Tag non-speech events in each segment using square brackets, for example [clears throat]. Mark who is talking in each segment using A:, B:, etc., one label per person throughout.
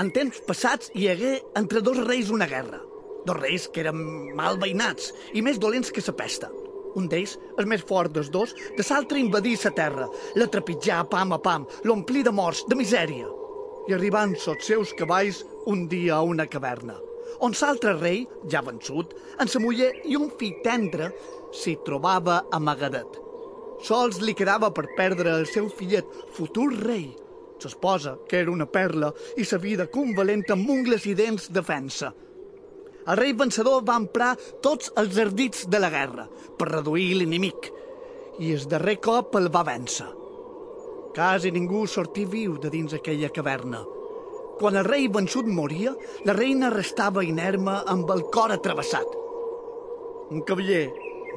A: en temps passats hi hagué entre dos reis una guerra. Dos reis que eren mal veïnats i més dolents que sa pesta. Un d'ells, el més fort dels dos, de l'altre invadir sa terra, la trepitjar pam a pam, l'omplir de morts, de misèria. I arribant sots seus cavalls un dia a una caverna, on l'altre rei, ja vençut, en sa muller i un fill tendre, s'hi trobava amagadet. Sols li quedava per perdre el seu fillet, futur rei, s'esposa, que era una perla, i sa vida convalenta amb ungles i dents de fensa. El rei vencedor va emprar tots els ardits de la guerra per reduir l'enemic i el darrer cop el va vèncer. Quasi ningú sortí viu de dins aquella caverna. Quan el rei vençut moria, la reina restava inerme amb el cor atravessat. Un cavaller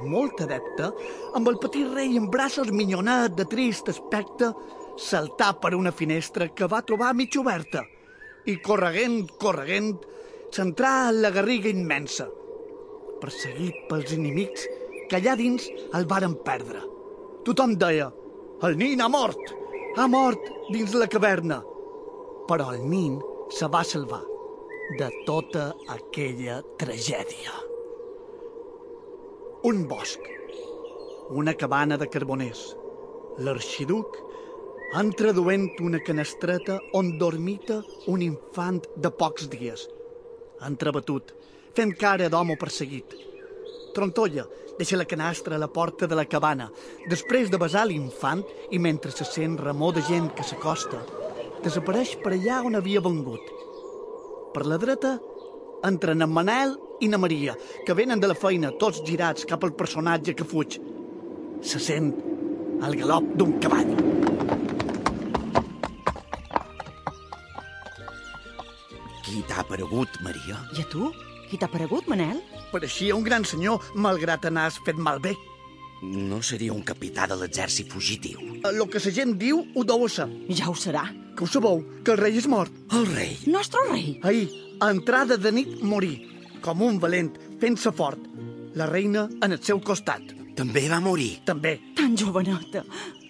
A: molt adepte, amb el petit rei en braços minyonat de trist aspecte, saltà per una finestra que va trobar mig oberta i, correguent, correguent, s'entrà en la garriga immensa, perseguit pels enemics que allà dins el varen perdre. Tothom deia, el nin ha mort, ha mort dins la caverna. Però el nin se va salvar de tota aquella tragèdia. Un bosc, una cabana de carboners, l'arxiduc entra duent una canestreta on dormita un infant de pocs dies. Entrebatut, fent cara d'home perseguit. Trontolla deixa la canastra a la porta de la cabana. Després de besar l'infant i mentre se sent remor de gent que s'acosta, desapareix per allà on havia vengut. Per la dreta entren en Manel i na Maria, que venen de la feina tots girats cap al personatge que fuig. Se sent el galop d'un cavall.
B: Qui t'ha aparegut, Maria?
C: I a tu? Qui t'ha paregut, Manel?
A: Pareixia un gran senyor, malgrat anar-se fet malbé.
B: No seria un capità de l'exèrcit fugitiu.
A: El Eh, que la gent diu ho deu ser.
C: Ja ho serà.
A: Que ho sabeu, que el rei és mort.
B: El rei?
C: Nostre rei!
A: Ahir, a entrada de nit, morí. Com un valent, fent-se fort. La reina en el seu costat.
B: També va morir.
A: També.
C: Tan jovenota!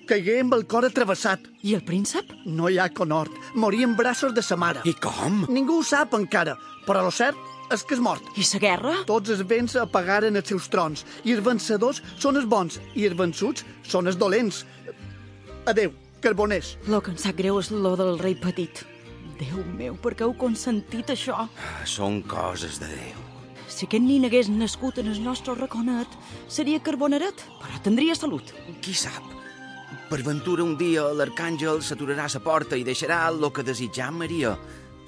A: Caigué amb el cor atravessat.
C: I el príncep?
A: No hi ha conhort. Morí en braços de sa mare.
B: I com?
A: Ningú ho sap encara, però lo cert és que és mort.
C: I la guerra?
A: Tots els vents apagaren els seus trons, i els vencedors són els bons, i els vençuts són els dolents. Adeu, carboners.
C: Lo que em sap greu és lo del rei petit. Déu meu, per què heu consentit això?
B: Són coses de Déu.
C: Si aquest nin hagués nascut en el nostre raconet, seria carboneret, però tindria salut.
B: Qui sap? Per ventura un dia l'arcàngel s'aturarà a la porta i deixarà el que desitjam, Maria.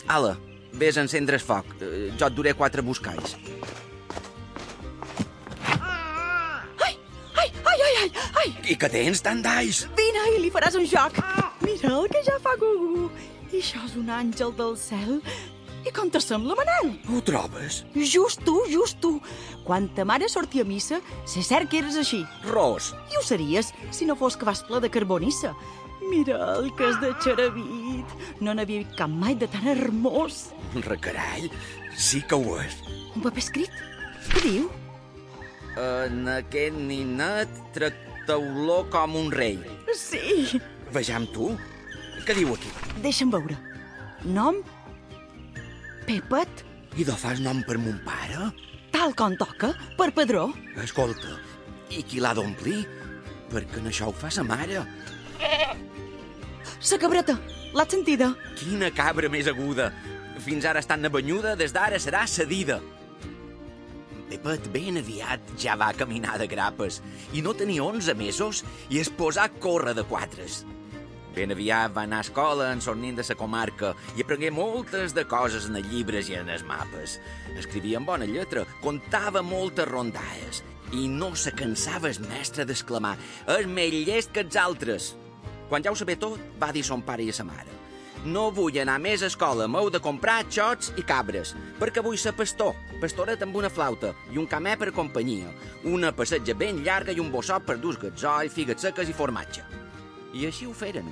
B: Ala, vés a encendre el foc. Eh, Jo et duré quatre buscalls.
C: Ai, ai, ai, ai, ai, ai!
B: I que tens tant d'ais?
C: Vine i li faràs un joc. Mira el que ja fa Gugu. I això és un àngel del cel. I com te sembla, Manel?
B: Ho trobes?
C: Just tu, just tu. Quan ta mare sortia a missa, sé cert que eres així.
B: Ros,
C: I ho series si no fos que vas ple de carbonissa. Mira el que és de xerevit. No n'havia vist cap mai de tan hermós.
B: recarall, sí que ho és.
C: Un paper escrit? Què diu?
B: En aquest ninet tracteu-lo com un rei.
C: Sí.
B: Vejam tu. Què diu aquí?
C: Deixa'm veure. Nom? Pepet?
B: I de fas nom per mon pare?
C: Tal com toca, per Pedró.
B: Escolta, i qui l'ha d'omplir? Perquè en això ho fa sa mare.
C: Sa cabreta, l'has sentida?
B: Quina cabra més aguda! Fins ara està banyuda, des d'ara serà cedida. Pepet ben aviat ja va caminar de grapes i no tenia 11 mesos i es posà a córrer de quatres. Ben aviat va anar a escola en sornint de sa comarca i aprengué moltes de coses en els llibres i en els mapes. Escrivia amb bona lletra, contava moltes rondalles i no se cansava el mestre d'exclamar «És més llest que els altres!». Quan ja ho sabé tot, va dir a son pare i a sa mare «No vull anar més a escola, m'heu de comprar xots i cabres, perquè vull ser pastor, pastoret amb una flauta i un camé per companyia, una passetja ben llarga i un bossot per dus gatzoll, figues seques i formatge». I així ho feren.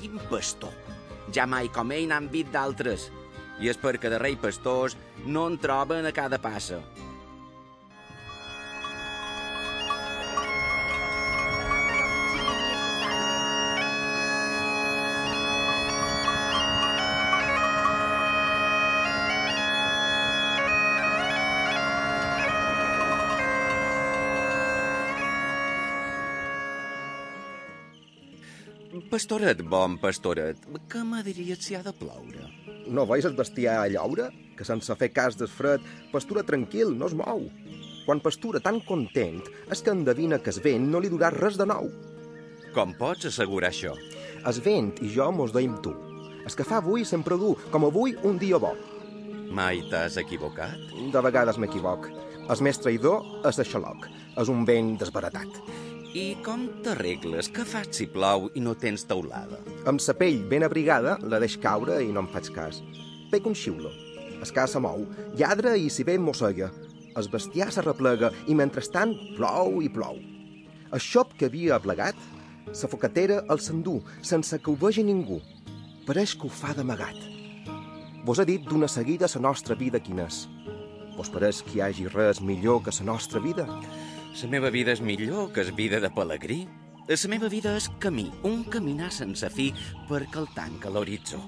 B: Quin pastor! Ja mai com ell n'han vist d'altres. I és perquè de rei pastors no en troben a cada passa. Pastoret, bon pastoret, què me diries si ha de ploure?
D: No veus el bestiar a llaure? Que sense fer cas del fred, pastura tranquil, no es mou. Quan pastura tan content, és que endevina que el vent no li durà res de nou.
B: Com pots assegurar això?
D: El vent i jo mos deim tu. El que fa avui sempre dur, com avui, un dia bo.
B: Mai t'has equivocat?
D: De vegades m'equivoc. El més traïdor és de xaloc. És un vent desbaratat.
B: I com t'arregles? Què fas si plou i no tens teulada?
D: Amb sa pell ben abrigada, la deix caure i no em faig cas. Pec un xiulo. Es ca se mou, lladra i si ve mossega. El bestiar s'arreplega i mentrestant plou i plou. El xop que havia aplegat, sa focatera el s'endú, sense que ho vegi ningú. Pareix que ho fa d'amagat. Vos ha dit d'una seguida sa nostra vida quina és. Vos pareix que hi hagi res millor que sa nostra vida?
B: La meva vida és millor que es vida de pelegrí. La meva vida és camí, un caminar sense fi perquè el tanca l'horitzó.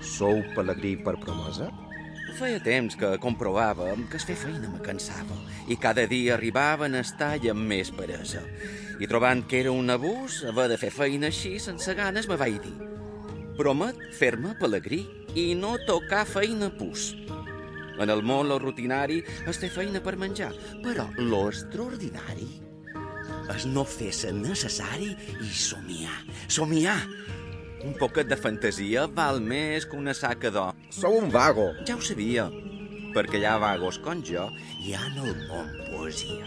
D: Sou pelegrí per promesa?
B: Feia temps que comprovava que es fer feina me cansava i cada dia arribava en estar i amb més peresa. I trobant que era un abús, haver de fer feina així sense ganes, me vaig dir promet fer-me pelegrí i no tocar feina pus. En el món, lo rutinari es té feina per menjar, però lo extraordinari és no fer-se necessari i somiar, somiar. Un poquet de fantasia val més que una saca d'or.
D: Sou un vago!
B: Ja ho sabia, perquè hi ha vagos com jo i ha en el món poesia.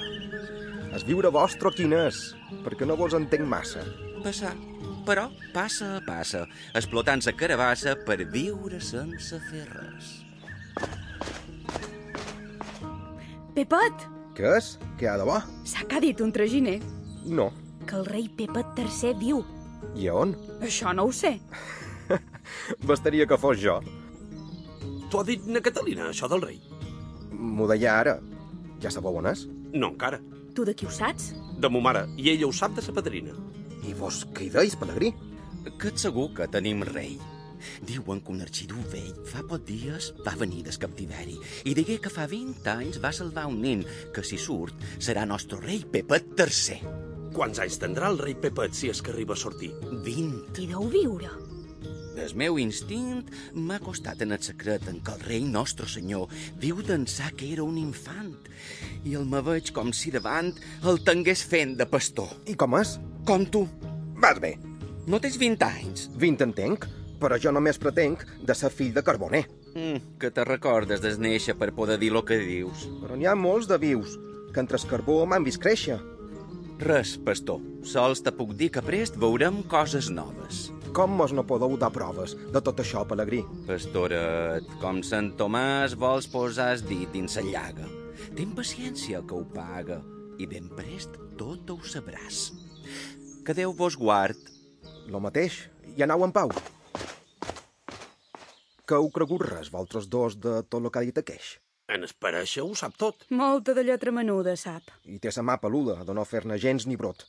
D: Es viure vostre quin és, perquè no vos entenc massa.
B: Passar, però passa a passa, explotant sa carabassa per viure sense fer res.
E: Pepet,
D: Què és? Què ha de bo?
E: s'ha cadit un traginer.
D: No.
E: Que el rei Pepet III viu.
D: I a on?
E: Això no ho sé.
D: Bastaria que fos jo.
F: T'ho ha dit na Catalina, això del rei?
D: M'ho deia ara. Ja sabeu on és?
F: No, encara.
E: Tu de qui ho saps?
F: De mo mare, i ella ho sap de sa padrina.
D: I vos què hi deis, pelegrí?
B: Que et segur que tenim rei. Diuen que un arxidu vell fa poc dies va venir des captiveri i digué que fa 20 anys va salvar un nen que, si surt, serà nostre rei Pepet III.
F: Quants anys tindrà el rei Pepet si és que arriba a sortir?
B: 20.
E: Qui deu viure?
B: El meu instint m'ha costat en el secret en què el rei nostre senyor diu d'ençà que era un infant i el me veig com si davant el tengués fent de pastor.
D: I com és?
B: Com tu.
D: Vas bé.
B: No tens 20 anys.
D: 20 entenc, però jo només pretenc de ser fill de Carboner.
B: Mm, que te recordes desnéixer per poder dir lo que dius.
D: Però n'hi ha molts de vius que entre el carbó m'han vist créixer.
B: Res, pastor. Sols te puc dir que prest veurem coses noves.
D: Com mos no podeu dar proves de tot això, pelegrí?
B: Pastoret, com Sant Tomàs vols posar el dit dins la llaga. Ten paciència que ho paga i ben prest tot ho sabràs. Que Déu vos guard.
D: Lo mateix, i anau en pau. Que heu cregut res, vosaltres dos, de tot lo que ha dit aqueix?
F: En espereixer ho sap tot.
E: Molta de lletra menuda, sap.
D: I té sa mà peluda de no fer-ne gens ni brot.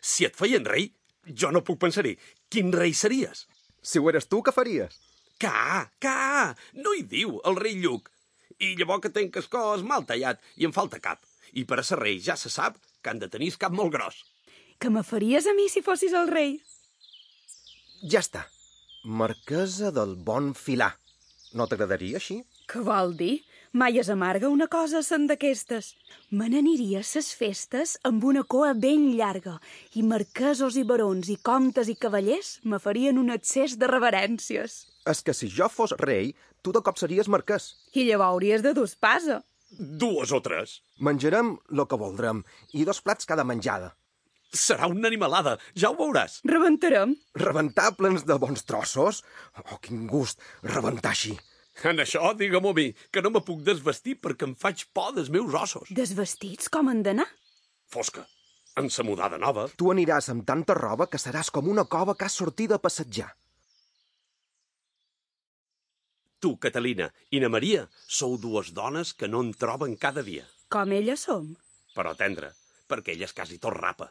F: Si et feien rei, jo no puc pensar-hi. Quin rei series?
D: Si ho eres tu, què faries?
F: Ca, ca, no hi diu, el rei Lluc. I llavors que tenc el cos mal tallat i em falta cap. I per a ser rei ja se sap que han de tenir el cap molt gros.
E: Que me faries a mi si fossis el rei?
D: Ja està. Marquesa del Bon Filar. No t'agradaria així?
E: Què vol dir? Mai és amarga una cosa sent d'aquestes. Me n'aniria a ses festes amb una coa ben llarga i marquesos i barons i comtes i cavallers me farien un excés de reverències.
D: És que si jo fos rei, tu de cop series marquès.
E: I llavors hauries de dur espasa.
F: Dues o tres.
D: Menjarem lo que voldrem i dos plats cada menjada.
F: Serà una animalada, ja ho veuràs.
E: Rebentarem.
D: Rebentar plens de bons trossos? Oh, quin gust, rebentar així.
F: En això, digue-m'ho a mi, que no me puc desvestir perquè em faig por dels meus ossos.
E: Desvestits com han d'anar?
F: Fosca, en sa mudada nova,
D: Tu aniràs amb tanta roba que seràs com una cova que has sortit a passejar.
F: tu, Catalina, i na Maria, sou dues dones que no en troben cada dia.
E: Com elles som.
F: Però tendre, perquè ella és quasi tot rapa.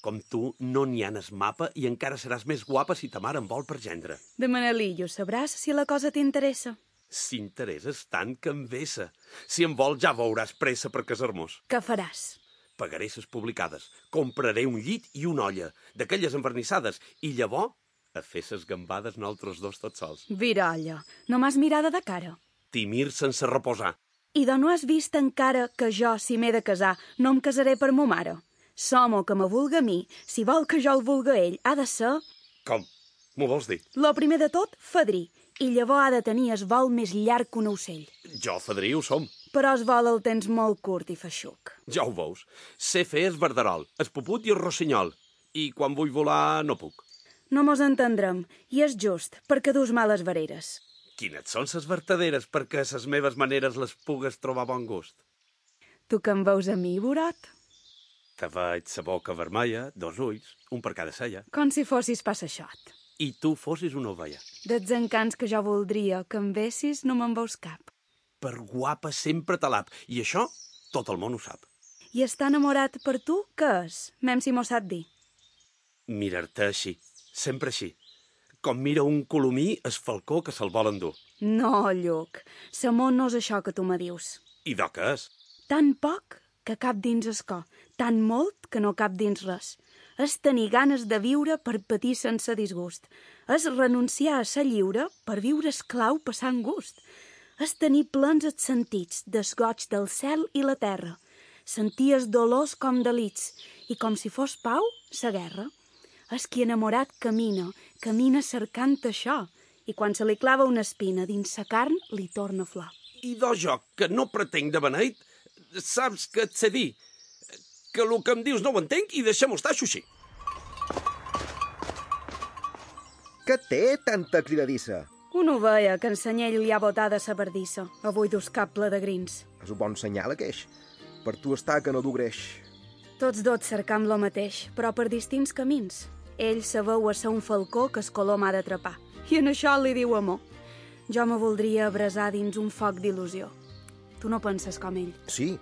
F: Com tu, no n'hi ha en es mapa i encara seràs més guapa si ta mare em vol per gendre.
E: Demana-li i ho sabràs si la cosa t'interessa.
F: S'interesses tant que em vessa. Si em vol, ja veuràs pressa per casar-nos.
E: Què faràs?
F: Pagaré ses publicades, compraré un llit i una olla, d'aquelles envernissades, i llavors a fer ses gambades nosaltres dos tots sols.
E: Viralla, no m'has mirada de cara.
F: Timir sense reposar.
E: I de no has vist encara que jo, si m'he de casar, no em casaré per mo mare. Som o que me vulga a mi, si vol que jo el vulga a ell, ha de ser,
F: Com? M'ho vols dir?
E: lo primer de tot, fadrí, i llavors ha de tenir es vol més llarg que un ocell.
F: Jo, Fadrí, ho som.
E: Però es vol el tens molt curt i feixuc.
F: Ja ho veus. Sé fer es verderol, es puput i el rossinyol. I quan vull volar, no puc.
E: No mos entendrem, i és just, perquè dus males vereres.
F: Quines són ses vertaderes perquè ses meves maneres les pugues trobar bon gust?
E: Tu que em veus a mi, Borot?
F: Te veig sa boca vermella, dos ulls, un per cada cella,
E: Com si fossis passaixot.
F: i tu fossis una ovella.
E: Dels encants que jo voldria que em vessis, no me'n veus cap.
F: Per guapa sempre te l'ap, i això tot el món ho sap.
E: I està enamorat per tu, què és? Mem si m'ho sap dir.
F: Mirar-te així, sempre així. Com mira un colomí es falcó que se'l vol endur.
E: No, Lluc, Samó no és això que tu me dius.
F: I de què és?
E: Tan poc que cap dins escó, tan molt que no cap dins res. És tenir ganes de viure per patir sense disgust. És renunciar a ser lliure per viure esclau passant gust. És tenir plens els sentits, desgoig del cel i la terra. Sentir els dolors com delits i com si fos pau, sa guerra. És qui enamorat camina, camina cercant això, i quan se li clava una espina dins sa carn, li torna flor.
F: I de jo, que no pretenc de beneit, saps que et sé dir que el que em dius no ho entenc i deixem-ho estar, això així.
D: Que té tanta cridadissa?
E: Una ovella que en Senyell li ha botat de sa bardissa. Avui dus cap ple de grins.
D: És un bon senyal, aqueix. Per tu està que no du greix.
E: Tots dos cercam lo mateix, però per distints camins. Ell se veu a ser un falcó que es color m'ha d'atrapar. I en això li diu amor. Jo me voldria abrasar dins un foc d'il·lusió. Tu no penses com ell.
D: Sí,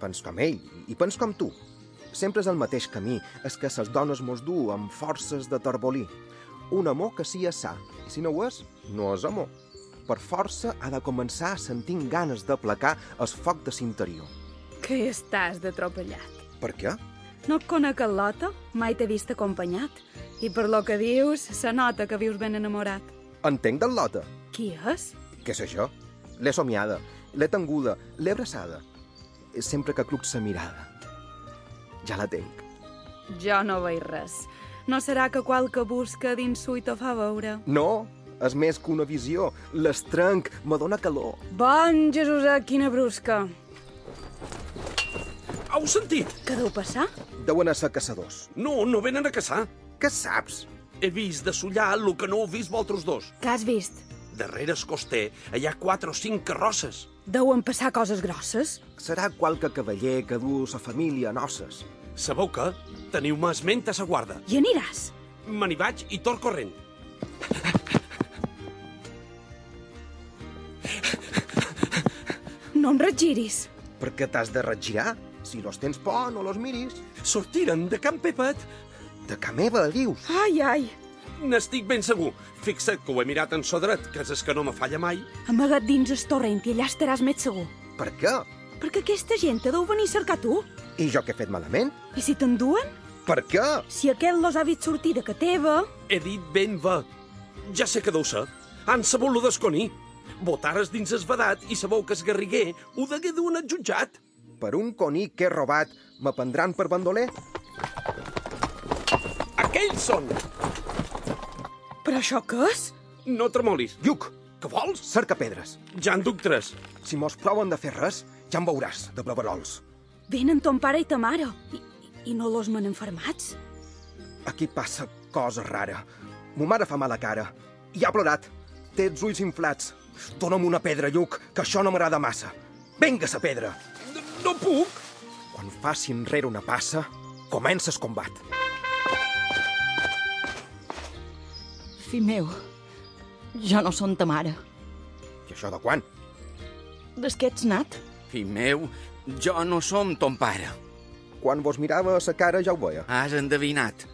D: pens com ell i pens com tu. Sempre és el mateix camí, és que ses dones mos du amb forces de tarbolí. Un amor que sí és sa, i si no ho és, no és amor. Per força ha de començar sentint ganes de placar el foc de s'interior.
E: Que estàs d'atropellat.
D: Per què?
E: No et conec el Lota, mai t'he vist acompanyat. I per lo que dius, se nota que vius ben enamorat.
D: Entenc del Lota.
E: Qui és?
D: Què sé jo? L'he somiada, l'he tenguda, l'he abraçada. Sempre que cluc sa mirada. Ja la tenc.
E: Jo no veig res. No serà que qualque busca dins su i te fa veure.
D: No, és més que una visió. L'estrenc, me dóna calor.
E: Bon Jesús, eh, quina brusca!
F: Heu sentit?
E: Què deu passar?
D: Deuen ser caçadors.
F: No, no venen a caçar.
D: Què saps?
F: He vist de sollar el que no heu vist vosaltres dos.
E: Què has vist?
F: Darrere es coster hi ha quatre o cinc carrosses.
E: Deuen passar coses grosses?
D: Serà qualque cavaller que du sa família a noces.
F: Sabeu què? Teniu-me esment a sa guarda.
E: Hi aniràs?
F: Me n'hi vaig i torn corrent.
E: No em regiris.
D: Per què t'has de regirar? Si los tens por, no los miris.
F: Sortiren de Can Pepet.
D: De que meva, dius?
E: Ai, ai,
F: N'estic ben segur. Fixa't que ho he mirat en so dret, que és que no me falla mai.
E: amagat dins el torrent i allà estaràs més segur.
D: Per què?
E: Perquè aquesta gent te deu venir a cercar tu.
D: I jo què he fet malament?
E: I si t'enduen?
D: Per què?
E: Si aquest los ha vist sortir de que teva...
F: He dit ben bé. Ja sé que deu ser. Han sabut lo d'esconir. Botares dins esvedat i sabeu que es garriguer ho degué dur en el jutjat.
D: Per un conill que he robat, me prendran per bandoler?
F: Aquells són!
E: Però això què és?
F: No tremolis.
D: Lluc,
F: Què vols?
D: cerca pedres.
F: Ja en duc tres.
D: Si mos proven de fer res, ja em veuràs, de blaverols.
E: Venen ton pare i ta mare. I, i- i no los men enfermats?
D: Aquí passa cosa rara. Mo mare fa mala cara. I ha plorat. Té els ulls inflats. Dóna'm una pedra, Lluc, que això no m'agrada massa. Vinga, sa pedra!
F: No, no puc!
D: Quan faci enrere una passa, comença el combat.
C: Fill meu, jo no són ta mare.
D: I això de quan?
C: Des que ets nat?
B: Fill meu, jo no som ton pare.
D: Quan vos mirava a sa cara ja ho veia.
B: Has endevinat.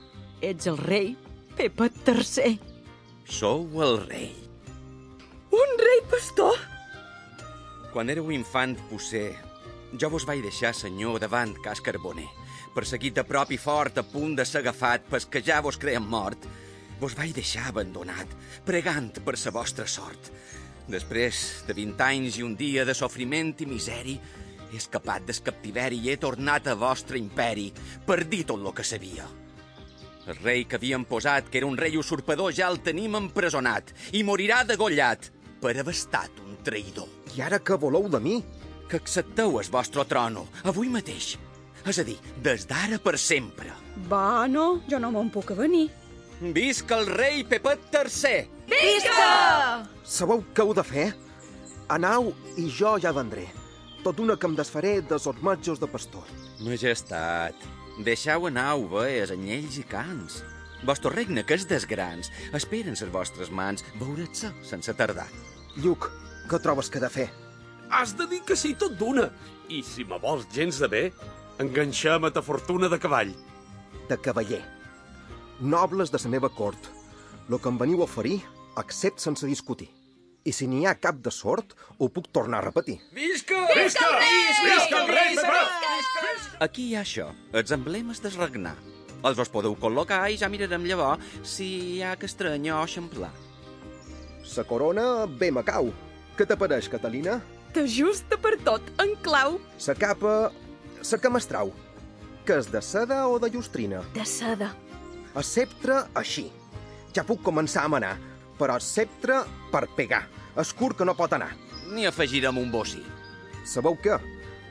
C: Ets el rei Pepa III.
B: Sou el rei.
E: Un rei pastor?
B: Quan éreu infant, potser, jo vos vaig deixar senyor davant Cas Carboner perseguit a prop i fort, a punt de ser agafat, pels que ja vos creen mort, vos vaig deixar abandonat, pregant per sa vostra sort. Després de 20 anys i un dia de sofriment i miseri, he escapat del captiveri i he tornat a vostre imperi, per dir tot lo que sabia. El rei que havíem posat, que era un rei usurpador, ja el tenim empresonat i morirà degollat per haver estat un traïdor
D: I ara què voleu de mi?
B: que accepteu el vostre trono, avui mateix. És a dir, des d'ara per sempre.
E: Bueno, jo no me'n puc venir.
B: Visca el rei Pepet III!
D: Sabeu què heu de fer? Anau i jo ja vendré. Tot una que em desfaré dels ormetjos de pastor.
B: Majestat, deixeu anar ovelles, anyells i cans. Vostre regne, que és des grans, esperen les vostres mans, veure't-se sense tardar.
D: Lluc, què trobes que he de fer?
F: Has de dir que sí tot d'una. I si me vols gens de bé, enganxem a ta fortuna de cavall.
D: De cavaller. Nobles de la meva cort, lo que em veniu a oferir, accept sense discutir. I si n'hi ha cap de sort, ho puc tornar a repetir.
B: Visca!
F: Visca! Visca el rei! Pepet!
B: Aquí hi ha això, els emblemes del regnar. Els vos podeu col·locar i ja mirarem llavors si hi ha que estranyar o xamplar.
D: La corona bé me cau. Què t'apareix, Catalina?
E: T'ajusta per tot, en clau.
D: La capa... la que m'estrau. Que és de seda o de llustrina?
E: De seda.
D: El sceptre, així. Ja puc començar a manar, però el sceptre per pegar. És curt que no pot anar.
B: N'hi afegirem un bocí.
D: Sabeu què?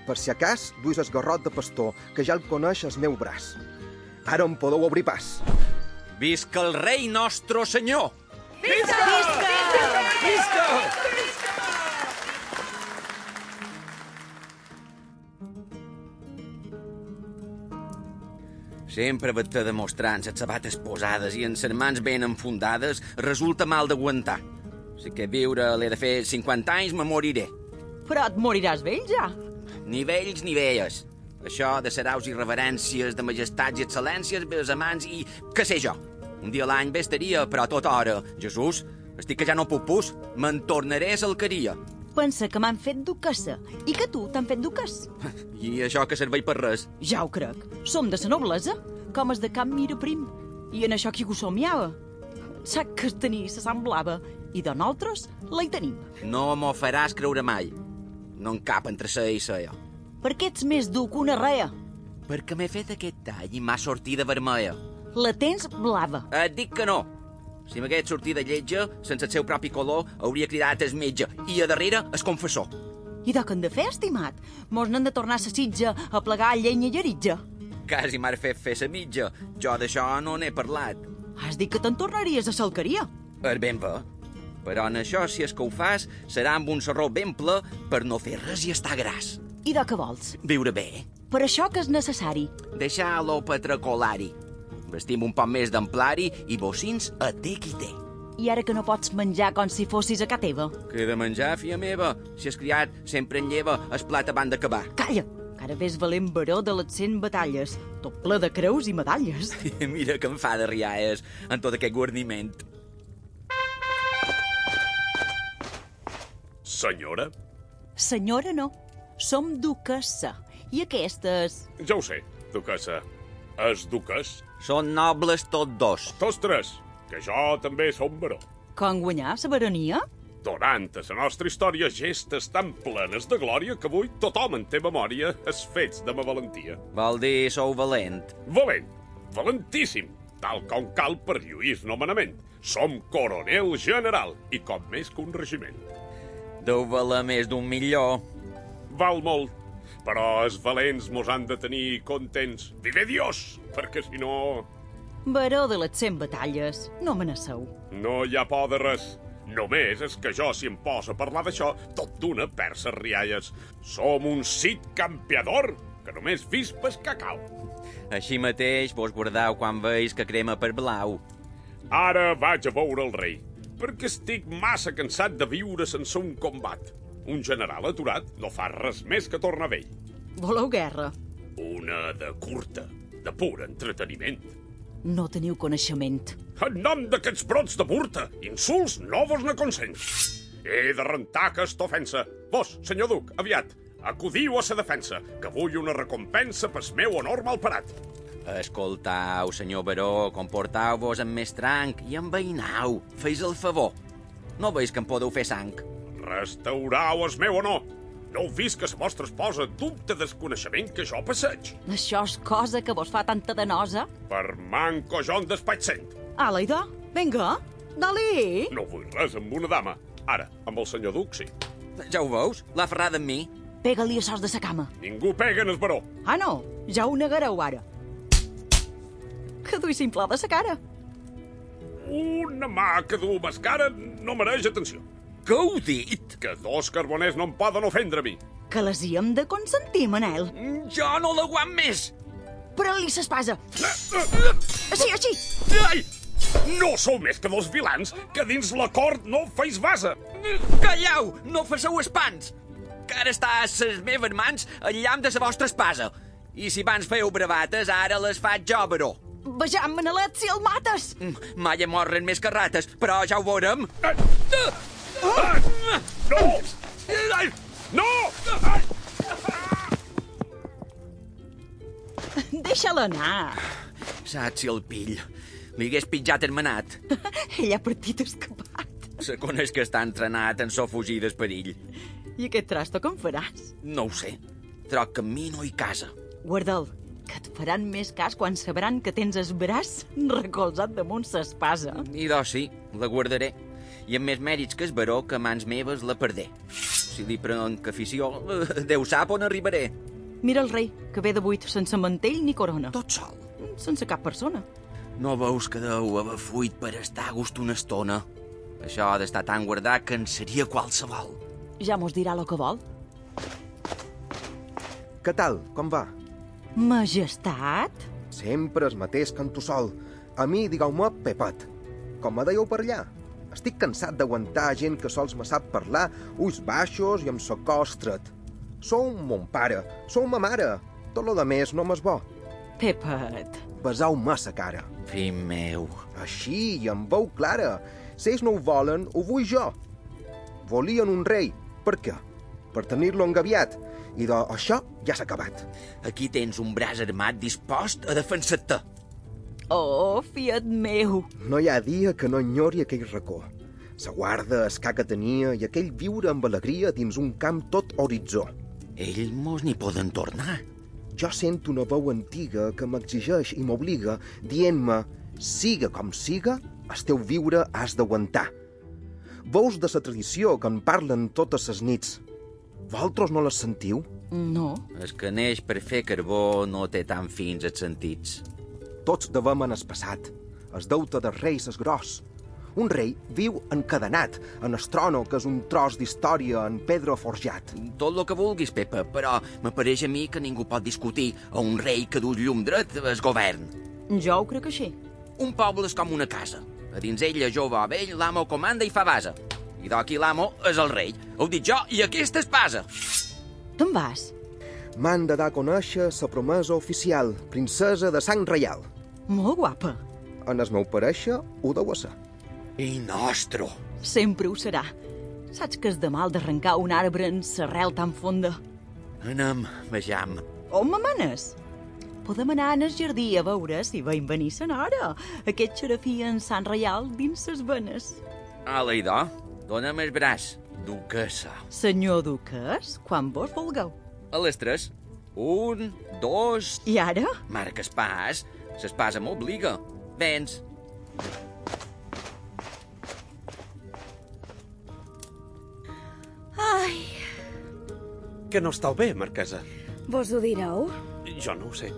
D: Per si a cas, duis el garrot de pastor, que ja el coneix el meu braç. Ara em podeu obrir pas.
B: Visca el rei nostre senyor! Sempre vaig-te demostrant les sabates posades i en les mans ben enfundades resulta mal d'aguantar. Si que viure l'he de fer 50 anys, me moriré.
C: Però et moriràs vell ja.
B: Ni vells ni velles. Això de saraus i reverències, de majestats i excel·lències, vers amants i... què sé jo. Un dia a l'any bé estaria, però a tota hora. Jesús, estic que ja no puc pus. Me'n tornaré a l'alqueria.
C: Pensa que m'han fet duquesa i que tu t'han fet duques.
B: I això que serveix per res.
C: Ja ho crec. Som de sa noblesa, com es de cap mira prim. I en això qui ho somiava? Sac que tenir se semblava. I de nosaltres la hi tenim.
B: No m'ho faràs creure mai. No en cap entre sa i sa jo.
C: Perquè ets més dur que una rea.
B: Perquè m'he fet aquest tall i m'ha sortit de vermella.
C: La tens blava.
B: Et dic que no. Si m'hagués sortit de lletja, sense el seu propi color, hauria cridat el metge i a darrere el confessor.
C: I de què hem de fer, estimat? Mos n'han de tornar a sa sitja a plegar llenya i aritja.
B: Quasi m'has fet fer sa mitja. Jo d'això no n'he parlat.
C: Has dit que te'n tornaries a salqueria.
B: És ben bé. Però en això, si és que ho fas, serà amb un serró ben ple per no fer res i estar gras.
C: I de què vols?
B: Viure bé.
C: Per això que és necessari.
B: Deixar l'ou patracolari. Vestim un poc més d'amplari i bocins a té qui té.
C: I ara que no pots menjar com si fossis a ca teva.
B: Que he de menjar, fia meva. Si has criat, sempre en lleva el plat abans d'acabar.
C: Calla! que Ara ves valent baró de les 100 batalles, tot ple de creus i medalles.
B: Mira [laughs] que em fa de riaes en tot aquest guarniment.
F: Senyora,
C: Senyora, no. Som duquessa. I aquesta és...
F: ja ho sé, duquesa. Es duques?
B: Són nobles tots dos.
F: Tostres, que jo també som baró.
C: Com guanyar sa baronia?
F: Durant a la nostra història gestes tan plenes de glòria que avui tothom en té memòria els fets de ma valentia.
B: Vol dir sou valent.
F: Valent, valentíssim, tal com cal per lluís nomenament. Som coronel general i com més que un regiment.
B: Deu valer més d'un milió.
F: Val molt, però els valents mos han de tenir contents. Vive Dios, perquè si no,
C: Baró de les 100 batalles. No amenaceu.
F: no hi ha por de res. Només és que jo, si em poso a parlar d'això, tot d'una persa rialles. Som un cit campeador que només vispes cacau.
B: Així mateix vos guardau quan veis que crema per blau.
F: Ara vaig a veure el rei, perquè estic massa cansat de viure sense un combat. Un general aturat no fa res més que tornar vell.
C: Voleu guerra?
F: Una de curta, de pur entreteniment.
C: No teniu coneixement.
F: En nom d'aquests brots de burta, insults no vos n'aconsens. He de rentar aquesta ofensa. Vos, senyor duc, aviat,
G: Acudiu a sa defensa, que vull una recompensa pel meu honor malparat.
B: Escoltau, senyor Baró, comportau-vos amb més tranc i enveïnau. Feis el favor. No veus que em podeu fer sang.
G: Restaurau el meu honor. No heu vist que la vostra esposa dubta del coneixement que jo passeig?
C: Això és cosa que vos fa tanta de nosa.
G: Per manco jo en despatx cent.
C: Ala, idò, vinga, dali.
G: No vull res amb una dama. Ara, amb el senyor Duc, sí.
B: Ja ho veus? L'ha ferrada amb mi.
C: Pega-li a sos de sa cama.
G: Ningú pega en el baró.
C: Ah, no, ja ho negareu ara. Que duis simple de sa cara.
G: Una mà que du mascara no mereix atenció.
B: Que heu dit?
G: Que dos carboners no em poden ofendre a mi.
C: Que les hi hem de consentir, Manel.
B: Jo no l'aguant més!
C: Pren-li l'espasa. Així, així.
G: Ai! No sou més que dos vilans que dins l'acord no feis base.
B: Callau! No faceu espans! Que ara està a les meves mans el llamp de la vostra espasa. I si abans feu bravates, ara les faig jo, Baró.
C: Vejam, Manelet, si el mates.
B: Mm, Mai em morren més que rates, però ja ho veurem.
G: Ai! Ai! No! Ai! No! Ai!
C: Deixa-la anar.
B: Saps si el pill. Li hagués pitjat hermanat.
C: Ell ha partit escapat.
B: Se coneix que està entrenat en so fugir d'esperill.
C: I aquest trasto com faràs?
B: No ho sé. Troc que amb mi no hi casa.
C: Guarda'l, que et faran més cas quan sabran que tens el braç recolzat damunt s'espasa.
B: I do, sí, la guardaré. I amb més mèrits que es baró, que a mans meves la perdé. Si li prenc afició, eh, Déu sap on arribaré.
C: Mira el rei, que ve de buit, sense mantell ni corona.
B: Tot sol.
C: Mm, Sense cap persona.
B: No veus que deu haver fuit per estar a gust una estona? Això ha d'estar tan guardat que en seria qualsevol.
C: Ja mos dirà el que vol.
D: Què tal? Com va?
C: Majestat?
D: Sempre el mateix canto sol. A mi digueu-me Pepet. Com me dèieu per allà? Estic cansat d'aguantar gent que sols me sap parlar, ulls baixos i amb so cos tret. Sou mon pare, sou ma mare. Tot lo de més no m'és bo.
C: Pepet.
D: Besau-me sa cara.
B: Fill meu...
D: Així, i amb veu clara. Si ells no ho volen, ho vull jo. Volien un rei. Per què? Per tenir-lo engaviat. I de, això ja s'ha acabat.
B: Aquí tens un braç armat dispost a defensar-te.
C: Oh, fiat meu.
D: No hi ha dia que no enyori aquell racó. Se guarda el ca que tenia i aquell viure amb alegria dins un camp tot horitzó.
B: Ells mos n'hi poden tornar.
D: Jo sento una veu antiga que m'exigeix i m'obliga, dient-me, siga com siga, el teu viure has d'aguantar. Veus de sa tradició que en parlen totes ses nits. Vosaltres no les sentiu?
C: No.
B: Es que neix per fer carbó no té tant fins els sentits.
D: Tots devem en el passat. Es deute de reis és gros. Un rei viu encadenat, en estrono, que és un tros d'història en pedra forjat.
B: Tot lo que vulguis, Pepa, però m'apareix a mi que ningú pot discutir a un rei que du llum dret es govern.
C: Jo ho crec així.
B: Un poble és com una casa. A dins ella, jove o vell, l'amo comanda i fa base. I d'aquí l'amo és el rei. Ho dic jo i aquesta espasa.
C: Te'n vas?
D: M'han de dar a conèixer sa promesa oficial, princesa de sang reial.
C: Molt guapa.
D: En el meu pareixer, ho deu ser.
B: I nostro.
C: Sempre ho serà. Saps que és de mal d'arrencar un arbre en s'arrel tan fonda.
B: Anem, vejam.
C: On me manes? Podem anar en el jardí a veure si veiem venir sa nora. Aquest xerafí en Sant Reial dins ses venes.
B: Ala, idò, dona'm el braç, duquesa.
C: Senyor Duques, quan vos vulgueu.
B: A les tres. Un, dos,
C: I ara?
B: Marques pas, s'espasa m'obliga. Vens.
F: Que no estàu bé, marquesa.
E: Vos ho direu?
F: Jo no ho sé.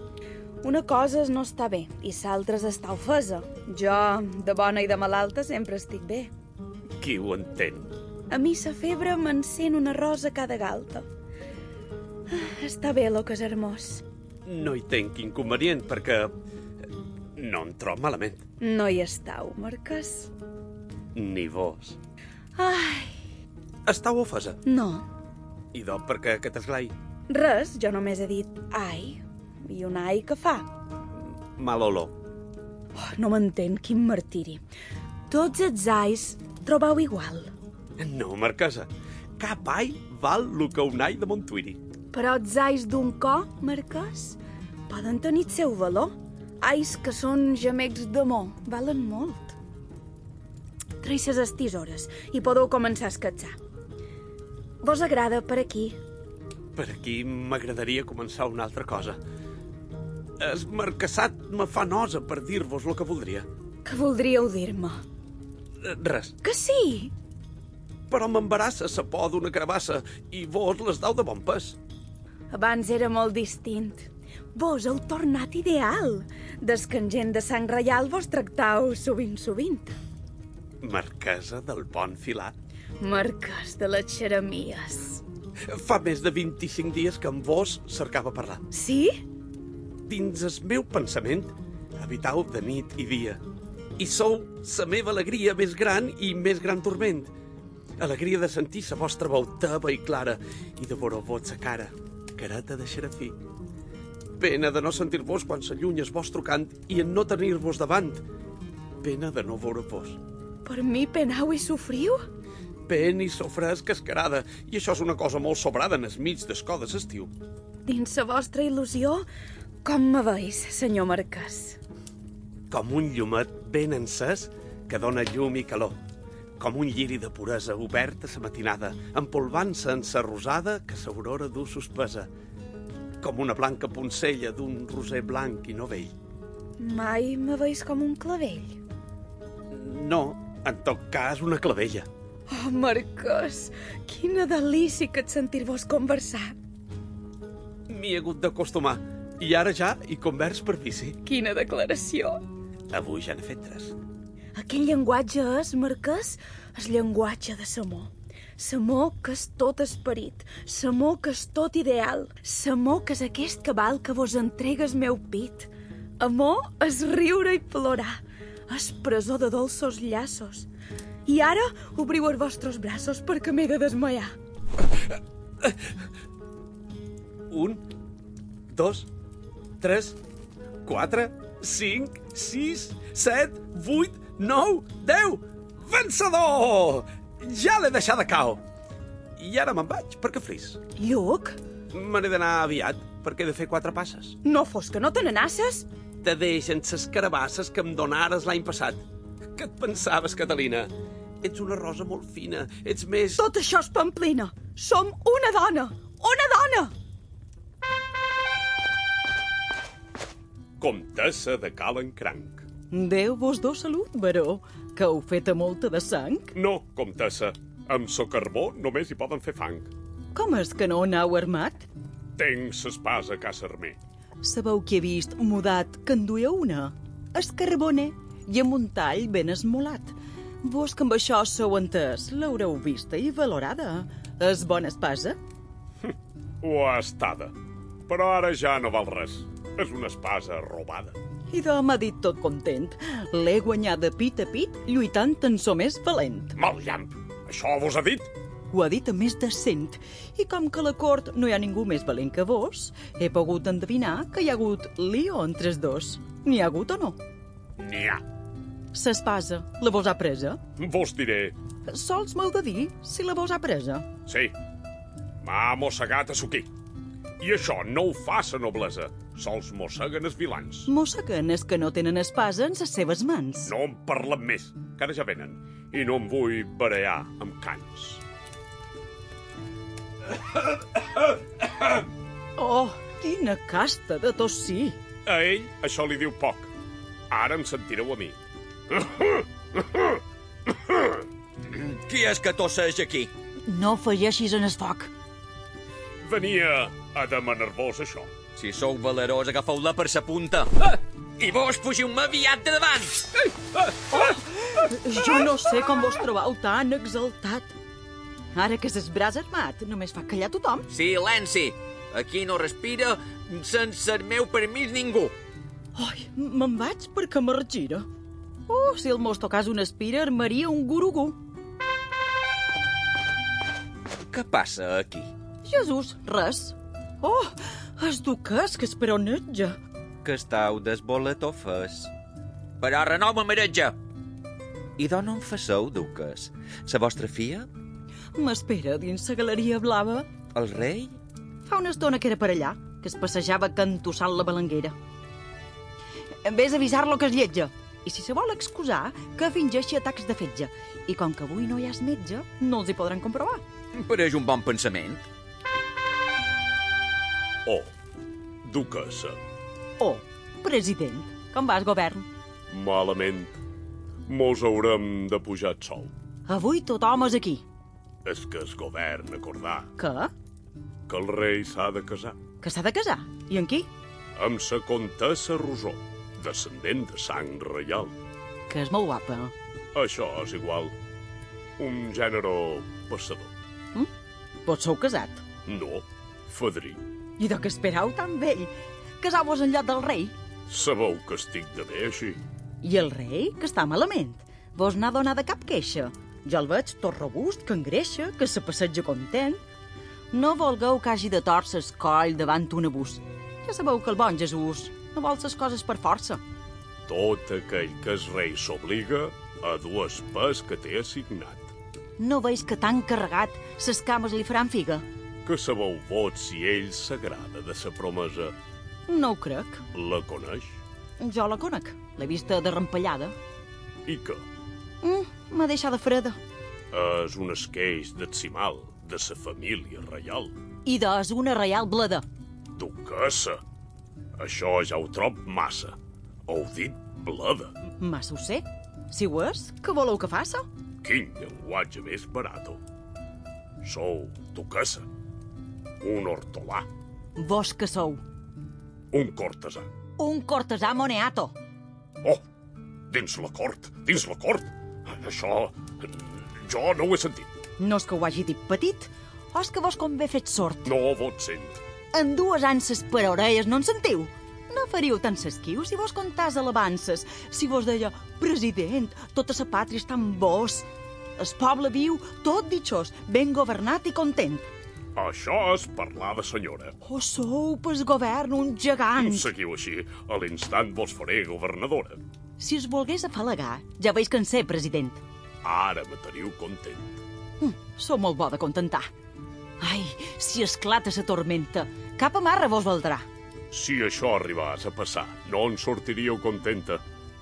E: Una cosa és no estar bé i s'altra és estar ofesa. Jo, de bona i de malalta, sempre estic bé.
F: Qui ho entén?
E: A mi sa febre m'encén una rosa cada galta. Ah, Està bé, lo que és hermós.
F: No hi tenc inconvenient, perquè... eh, No em trob malament.
E: No hi estàu, Marquès.
F: Ni vos.
E: Ai,
F: Estau ofesa.
E: no.
F: I do, perquè aquest esglai...
E: Res, jo només he dit ai. I un ai que fa.
F: Mal olor.
E: Oh, no m'entén, quin martiri. Tots els ais trobau igual.
F: No, marquesa. Cap ai val lo que un ai de Montuiri.
E: Però els ais d'un cor, Marquès, poden tenir el seu valor. Ais que són gemecs d'amor, valen molt. Treixes les tisores i podeu començar a escatzar. Vos agrada per aquí?
F: Per aquí m'agradaria començar una altra cosa. Es marcassat me fa nosa per dir-vos el que voldria.
E: Que voldríeu dir-me?
F: Eh, Res.
E: Que sí!
F: Però m'embarassa sa por d'una carabassa i vos les dau de bon pes.
E: Abans era molt distint. Vos heu tornat ideal. Des que en gent de sang reial vos tractau sovint, sovint.
F: Marquesa del Pont Filat.
E: Marques de les xeremies.
F: Fa més de 25 dies que amb vos cercava parlar.
E: Sí?
F: Dins el meu pensament, habitau de nit i dia. I sou la meva alegria més gran i més gran torment. Alegria de sentir la vostra veu teva i clara i de veure vot sa cara, careta de xerafí. Pena de no sentir-vos quan s'allunya el vostre cant i en no tenir-vos davant. Pena de no veure-vos.
E: Per mi penau i sofriu?
F: Pen i sofres cascarada, i això és una cosa molt sobrada en el mig d'escó de l'estiu.
E: Dins la vostra il·lusió, com me veis, senyor Marquès?
F: com un llumet ben encès que dona llum i calor, com un lliri de puresa obert a sa matinada, empolvant-se en sa rosada que s'aurora du sospesa, com una blanca poncella d'un roser blanc i no vell.
E: Mai me veis com un clavell.
F: No, en tot cas, una clavella.
E: Oh, Marquès, quina delícia que et sentir-vos conversar.
F: M'hi he hagut d'acostumar, i ara ja hi convers per vici.
E: Quina declaració.
F: Avui ja n'he fet tres.
E: Aquell llenguatge és, Marquès, el llenguatge de l'amor. L'amor que és tot esperit, l'amor que és tot ideal, l'amor que és aquest cabal que vos entrega el meu pit. Amor és riure i plorar, és presó de dolços llaços. I ara obriu els vostres braços perquè m'he de desmaiar.
F: Un, dos, tres, quatre, cinc, sis, set, vuit, nou, deu! Vencedor! Ja l'he deixada cau! I ara me'n vaig, perquè fris.
E: Lluc,
F: Me n'he d'anar aviat, perquè he de fer quatre passes.
E: no fos que no te n'anasses?
F: Te deixen ses carabasses que em donares l'any passat. Què et pensaves, Catalina? Ets una rosa molt fina, ets més...
E: Tot això és pamplina. Som una dona! Una dona!
G: Comtessa de Calen Cranc.
C: Déu vos do salut, baró, que heu fet a molta de sang.
G: No, comtessa. Amb so carbó només hi poden fer fang.
C: Com és que no n'heu armat?
G: Tenc s'espasa, Casarmer.
C: Sabeu qui he vist mudat que en duia una? Es carboner i amb un tall ben esmolat. Vos que amb això sou entès, l'haureu vista i valorada. És bona espasa?
G: Ho ha estada. Però ara ja no val res. És una espasa robada.
C: I de m'ha dit tot content. L'he guanyada pit a pit lluitant tan so més valent.
G: Mal llamp! Això vos ha dit?
C: Ho ha dit a més de cent. I com que a la cort no hi ha ningú més valent que vos, he pogut endevinar que hi ha hagut lío entre els dos. N'hi ha hagut o no?
G: N'hi ha.
C: S'espasa, la vos ha presa?
G: Vos diré.
C: Sols m'heu de dir si la vos ha presa.
G: Sí. M'ha mossegat a suquí. I això no ho fa sa noblesa. Sols mosseguen els vilans.
C: Mosseguen és que no tenen espasa en les seves mans.
G: No en parlem més, que ara ja venen. I no em vull barear amb cans.
C: Oh, quina casta de tossir!
G: A ell això li diu poc. Ara em sentireu a mi.
B: Qui és que tosseix aquí?
C: No afegeixis en el foc.
G: Venia a demanar-vos això.
B: Si sou valerós, agafeu-la per sa punta. Ah! I vos fugiu-me aviat de davant!
C: Jo no sé com vos trobeu tan exaltat. Ara que s'es braç armat, només fa callar tothom.
B: Silenci! Aquí no respira sense el meu permís ningú.
C: Ai, me'n vaig perquè me regira. Oh, si el mos tocàs un espira, armaria un gurugú.
B: Què passa aquí?
C: Jesús, res. Oh, es duques que esperonetja.
B: Que estau desbolatofes. Però renova meretge. I d'on en faceu, duques? Sa vostra fia?
C: M'espera dins la galeria blava.
B: El rei?
C: Fa una estona que era per allà, que es passejava cantossant la balanguera. Vés a avisar-lo que és lletja. I si se vol excusar, que fingeixi atacs de fetge. I com que avui no hi has metge, no els hi podran comprovar.
H: Pareix un bon pensament.
F: Oh, duquesa,
C: Oh, president, com vas, govern?
F: malament. Mos haurem de pujar el sol.
C: Avui tothom és aquí.
F: És que el govern acordar
C: Què?
F: que el rei s'ha de casar
C: Que s'ha de casar? I amb qui?
F: amb sa contessa Rosó, descendent de sang reial.
C: Que és molt guapa.
F: Això és igual. Un gènere passador.
C: Vos sou casat.
F: No, fadrí.
C: I de què esperau tan vell? Casau-vos en lloc del rei.
F: Sabeu que estic de bé així.
C: I el rei, que està malament. Vos n'ha donat de cap queixa. Jo el veig tot robust, que engreixa, que se passeja content. No volgueu que hagi de tòrcer el coll davant un abús. Ja sabeu que el bon Jesús no vol ses coses per força.
F: Tot aquell que es rei s'obliga a dues pes que té assignat.
C: No veis que tan carregat ses cames li faran figa?
F: Que sabeu vot si ell s'agrada de sa promesa.
C: No ho crec.
F: La coneix?
C: Jo la conec. L'he vista de rampallada.
F: I que
C: Mm, M'ha deixat de freda.
F: és un esqueix decimal de sa família reial.
C: I des una reial blada.
F: Duquesa, això ja ho trob massa. Heu dit blada.
C: Massa ho sé. Si ho és, què voleu que faça?
F: Quin llenguatge més barato. Sou duquesa, un hortolà,
C: Vos que sou
F: un cortesà.
C: un cortesà moneato.
F: Oh, dins la cort, dins la cort. Això... jo no ho he sentit.
C: No és que ho hagi dit petit, o és que vos convé fet sort.
F: No vot sent.
C: En dues anses per orelles no en sentiu. No faríeu tant s'esquiu si vos contàs alabances, si vos deia, president, tota sa pàtria està amb vos. El poble viu, tot ditxós, ben governat i content.
F: Això és parlar de senyora.
C: O sou pel govern un gegant.
F: Seguiu així, a l'instant vos faré governadora.
C: Si es volgués afalagar, ja veis que en sé, president.
F: Ara me teniu content.
C: Sou molt bo de contentar. Ai, si esclata sa tormenta, cap amarra vos valdrà.
F: Si això arribàs a passar, no en sortiríeu contenta.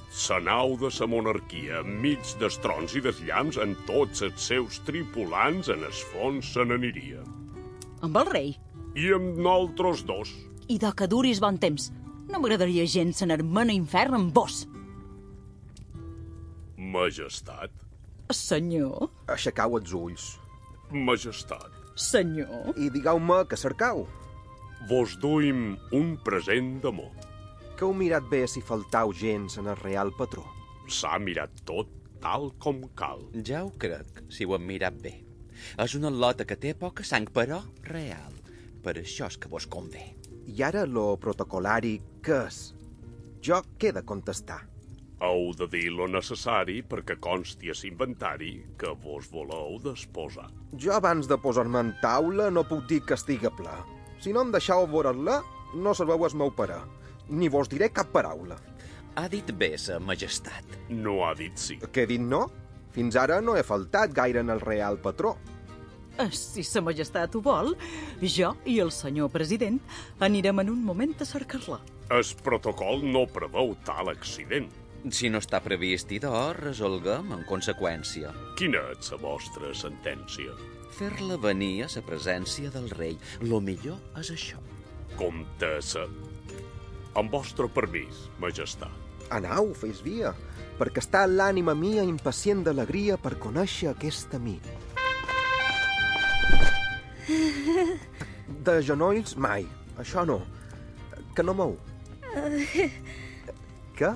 F: Sa nau de sa monarquia, enmig d'estrons i desllamps, en tots els seus tripulants, en es fons se n'aniria.
C: Amb el rei.
F: I amb nosaltres dos.
C: I de que duris bon temps. No m'agradaria gens anar-me a infern amb vos.
F: Majestat,
C: Senyor,
D: Aixecau els ulls
F: majestat,
C: senyor...
D: i digueu-me que cercau.
F: vos duim un present d'amor.
D: Que heu mirat bé si faltau gens en el real patró.
F: S'ha mirat tot tal com cal.
B: Ja ho crec, si ho han mirat bé. És una lota que té poca sang, però real. Per això és que vos convé.
D: I ara lo protocolari, què és? Jo què he de contestar?
F: Heu de dir lo necessari perquè consti a s'inventari que vos voleu desposar.
D: Jo abans de posar-me en taula no puc dir que estiga ple. Si no em deixau veure-la, no serveu el meu pare. Ni vos diré cap paraula.
B: Ha dit bé, sa majestat.
F: No ha dit sí.
D: Què he dit no? Fins ara no he faltat gaire en el real patró.
C: Eh, Si sa majestat ho vol, jo i el senyor president anirem en un moment a cercar-la.
F: El protocol no preveu tal accident.
B: Si no està previst i d'or, resolguem en conseqüència.
F: Quina és la vostra sentència?
B: Fer-la venir a la presència del rei. Lo millor és això.
F: Comtessa. Amb vostre permís, majestat.
D: Anau, fes via, perquè està l'ànima mia impacient d'alegria per conèixer aquest amic. De genolls, mai. Això no. Que no mou. Que?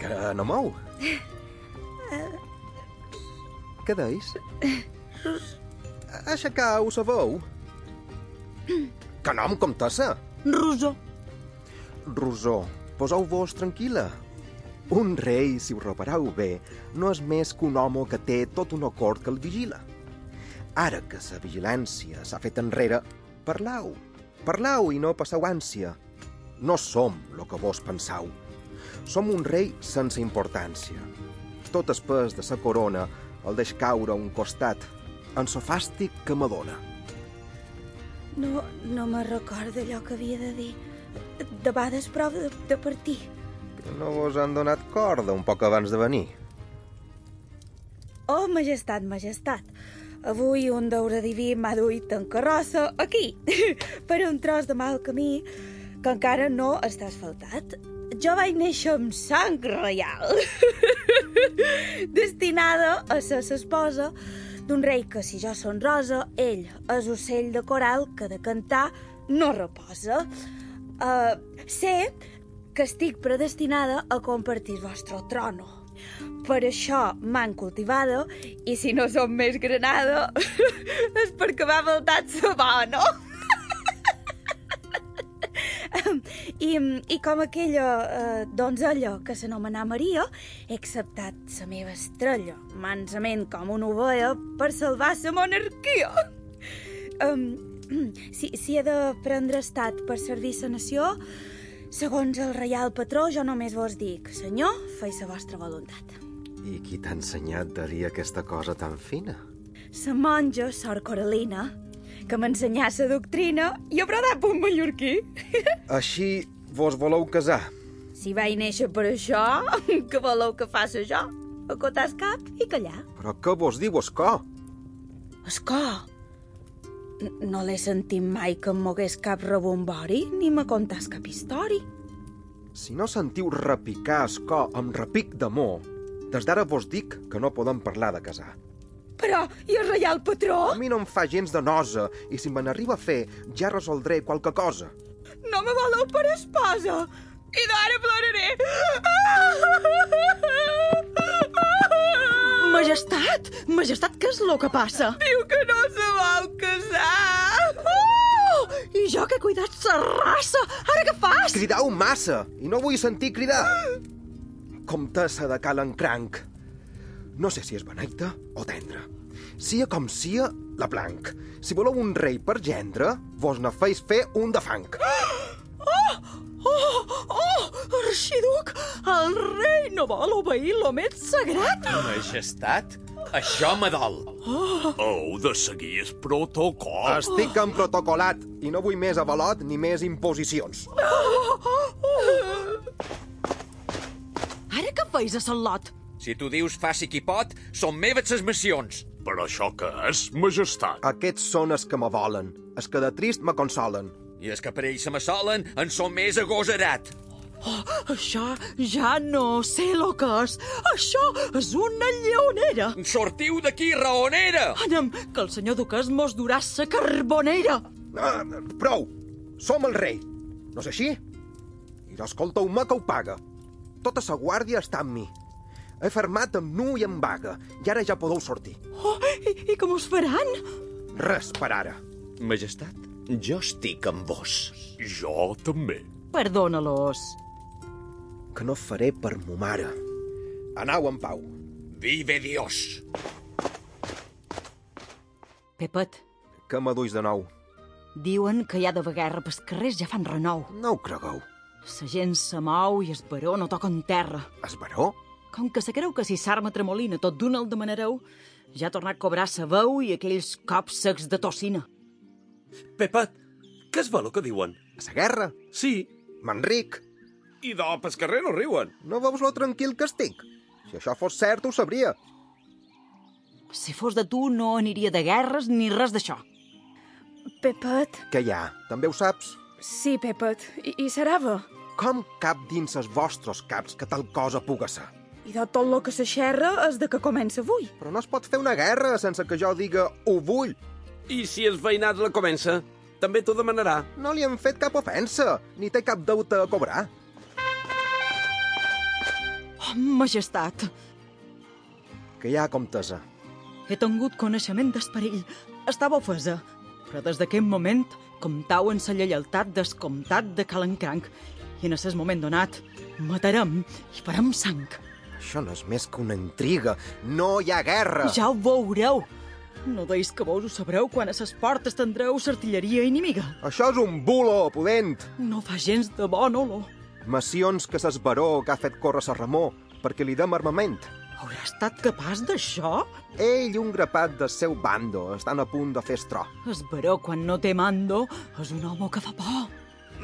D: Que no mou. Què deis? Aixecau, sabeu? Que nom, comtessa?
C: Rosó,
D: Rosó, poseu-vos tranquil·la. Un rei, si ho repareu bé, no és més que un home que té tot un acord que el vigila. Ara que sa vigilància s'ha fet enrere, parlau. Parlau i no passeu ànsia. No som lo que vos pensau. Som un rei sense importància. Tot es pes de sa corona el deix caure a un costat en so fàstic que m'adona.
E: No, no me recordo allò que havia de dir. De vegades prou de, de partir.
D: No vos han donat corda un poc abans de venir?
E: Oh, majestat, majestat, avui un deure diví m'ha duit en carrossa aquí, [laughs] per un tros de mal camí que encara no està asfaltat. Jo vaig néixer amb sang reial, [laughs] destinada a ser l'esposa d'un rei que, si jo són rosa, ell és ocell de coral que de cantar no reposa. Uh, sé que estic predestinada a compartir el vostre trono. Per això m'han cultivada i si no som més granada [laughs] és perquè m'ha faltat sa bona. [laughs] I, I com aquella eh, donzella que s'anomena Maria, he acceptat la meva estrella, mansament com una ovella, per salvar la monarquia. Um, [clears throat] si, si he de prendre estat per servir la nació, segons el reial patró, jo només vos dic, senyor, feis la vostra voluntat.
D: I qui t'ha ensenyat a dir aquesta cosa tan fina?
E: La monja, Sor Coralina, que m'ensenyà la doctrina i haurà de punt mallorquí. [laughs]
D: Així vos voleu casar?
E: Si vaig néixer per això, [laughs] que voleu que faça jo? Acotar el cap i callar.
D: Però què vos diu, Escó?
E: Escò, n- no l'he sentit mai que em mogués cap rebombori ni me contàs cap història.
D: Si no sentiu repicar Escó amb repic d'amor, des d'ara vos dic que no podem parlar de casar.
E: Però, i el reial
D: A
E: patró?
D: mi no em fa gens de nosa, i si me n'arriba a fer, ja resoldré qualque cosa.
E: No me voleu per esposa! I d'ara ploraré!
C: Majestat! Majestat, què és lo que passa?
E: Diu que no se vol casar!
C: Oh! I jo que he cuidat sa raça! Ara què fas?
D: Cridau massa, i no vull sentir cridar. Comtessa de Cal Encranc. No sé si és beneita o tendra. Sia com sia, la blanc. Si voleu un rei per gendre, vos ne feis fer un de fang.
C: Oh! Oh! Arxiduc! El rei no vol obeir lo més sagrat!
I: Majestat, això me dol.
G: Heu de seguir el protocol.
D: Estic en protocolat i no vull més avalot ni més imposicions.
C: Ara què feis a Salot?
I: Si tu dius faci qui pot, són meves ses missions.
G: Per això que és majestat.
D: Aquests són els que me volen, els que de trist me consolen.
I: I els que per ells se m'assolen en són més agosarat.
C: Això ja no sé lo que és. Això és una lleonera.
I: Sortiu d'aquí, raonera!
C: Anem, que el senyor duquès mos durà sa carbonera.
D: Ah, prou! Som el rei! No és així? I l'escolta-me que ho paga. Tota sa guàrdia està amb mi. He fermat amb nu i amb vaga, i ara ja podeu sortir.
C: Oh, i, I com us faran?
D: Res per ara.
I: Majestat, jo estic amb vos.
G: Jo també.
C: Perdona-los.
D: Que no faré per mo mare. Anau en pau.
I: Vive Dios!
C: Pepet,
D: Que m'aduis de nou.
C: diuen que hi ha de guerra pels carrers ja fan renou.
D: No ho cregueu.
C: Sa gent se mou i es baró no toca en terra.
D: Es baró?
C: Com que se creu que si s'arma tremolina tot d'una el demanareu, ja ha tornat a cobrar sa veu i aquells cops secs de tocina.
F: Pepet, què és valo que diuen?
D: A sa guerra?
F: Sí.
D: M'enric?
F: I de pel carrer no riuen.
D: No veus lo tranquil que estic? Si això fos cert, ho sabria.
C: Si fos de tu, no aniria de guerres ni res d'això.
E: Pepet,
D: Que hi ha? També ho saps?
E: sí, Pepet, i, i serà bo.
D: Com cap dins els vostres caps que tal cosa puga ser?
E: I de tot lo que se xerra és de que comença avui.
D: Però no es pot fer una guerra sense que jo diga ho vull.
F: I si els veïnats la comença, també t'ho demanarà.
D: No li han fet cap ofensa, ni té cap deute a cobrar.
C: Oh, majestat,
D: Que hi ha, eh? comtesa?
C: he tingut coneixement d'esperell. Estava ofesa, però des d'aquest moment comptau en sa lleialtat descomptat de Calencranc i en aquest moment donat matarem i farem sang.
D: Això no és més que una intriga. No hi ha guerra.
C: Ja ho veureu. No deis que vos ho sabreu quan a ses portes tindreu l'artilleria inimiga.
D: Això és un bulo, pudent.
C: No fa gens de bon olor.
D: Macions que s'esbaró que ha fet córrer Sir Ramó perquè li dem armament.
C: Haurà estat capaç d'això?
D: Ell i un grapat del seu bando estan a punt de fer estró.
C: Es Baró, quan no té mando, és un home que fa por.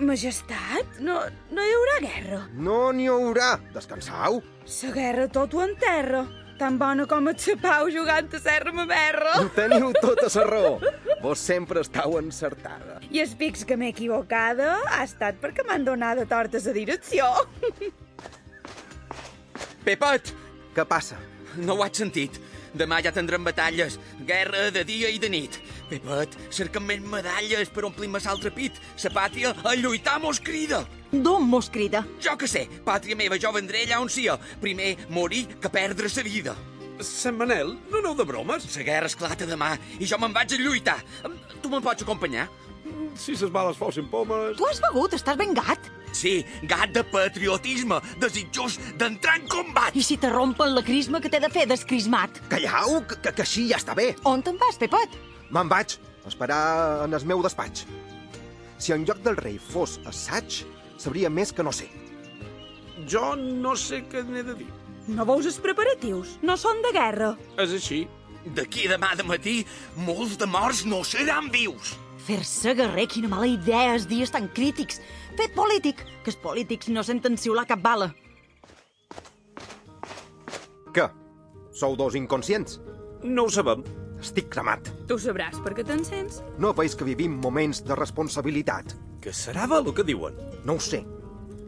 E: Majestat, no, no hi haurà guerra.
D: No n'hi haurà! Descansau!
E: La guerra tot ho enterra. Tan bona com et sa pau jugant a serra ma berra.
D: Teniu tota la raó. Vos sempre estàu encertada.
E: I es pics que m'he equivocada ha estat perquè m'han donat de tortes a direcció.
B: Pepet,
D: Què passa?
B: no ho has sentit. Demà ja tindrem batalles, guerra de dia i de nit. Pepet, cerca'm més medalles per omplir-me l'altre pit. Sa pàtria a lluitar mos crida.
C: D'on mos crida?
B: Jo que sé, pàtria meva, jo vendré allà on sia. Primer morir que perdre sa vida.
J: Sant Manel, no aneu de bromes?
B: Sa guerra esclata demà i jo me'n vaig a lluitar. Tu me'n pots acompanyar?
F: Si ses bales fossin pomes...
C: Tu has begut, estàs vengat.
B: Sí, gat de patriotisme, desitjós d'entrar en combat.
C: I si te rompen la crisma que t'he de fer descrismat?
D: Callau, que, que, que així ja està bé.
C: On te'n vas, Pepet?
D: Me'n vaig a esperar en el meu despatx. Si en lloc del rei fos assaig, sabria més que no sé.
J: Jo no sé què n'he de dir.
E: No veus els preparatius? No són de guerra.
J: És així.
K: D'aquí a demà de matí, molts de morts no seran vius.
C: Fer-se guerrer, quina mala idea, els dies tan crítics. Fet polític, que els polítics no senten xiular cap bala.
D: Què? Sou dos inconscients?
J: No ho sabem.
D: Estic cremat.
E: Tu sabràs per què te'n sents.
D: No veig que vivim moments de responsabilitat.
J: Que serà val el que diuen?
D: No ho sé.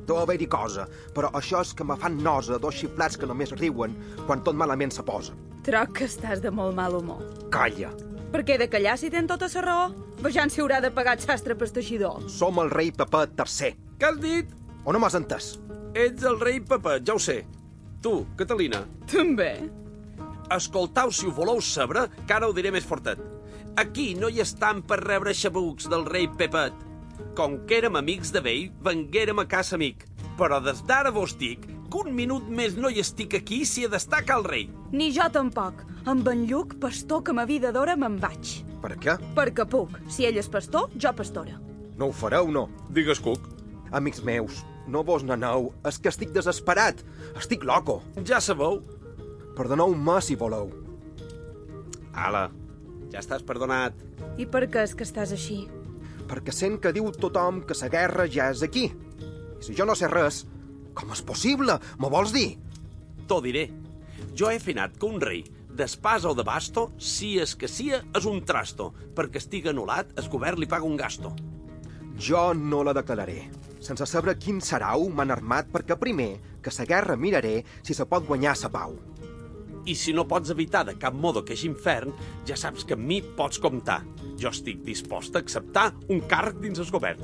D: Deu haver-hi cosa, però això és que me fan nosa dos xiflats que només riuen quan tot malament se posa.
E: Troc que estàs de molt mal humor.
D: Calla!
E: Per què he de callar si tens tota la raó? Vejant si haurà de pagar el sastre per teixidor.
D: Som el rei Pepet III.
J: Què has dit?
D: O no m'has entès?
J: Ets el rei Pepet, ja ho sé. Tu, Catalina,
E: També.
J: escoltau si ho voleu saber, que ara ho diré més fortet. Aquí no hi estan per rebre xabucs del rei Pepet. Com que érem amics de vell, venguérem a casa amic. Però des d'ara vos dic que un minut més no hi estic aquí si he destaca el rei.
E: Ni jo tampoc. Amb en Lluc, pastor que ma vida d'hora, me'n vaig.
D: Per què?
E: Perquè puc. Si ell és pastor, jo pastora.
D: No ho fareu, no?
F: Digues, Cuc.
D: Amics meus, no vos n'aneu, és que estic desesperat. Estic loco.
J: Ja sabeu.
D: Perdoneu-me si voleu.
J: Ala, ja estàs perdonat.
E: I per què és que estàs així?
D: Perquè sent que diu tothom que la guerra ja és aquí. I si jo no sé res, com és possible? Me vols dir?
J: T'ho diré. Jo he afinat que un rei d'espasa o de basto, si és que sia, és un trasto. Perquè estigui anul·lat, el govern li paga un gasto.
D: Jo no la declararé. Sense saber quin serau m'han armat perquè primer que la guerra miraré si se pot guanyar la pau.
J: I si no pots evitar de cap modo que és infern, ja saps que amb mi pots comptar. Jo estic dispost a acceptar Ah, un càrrec dins el govern.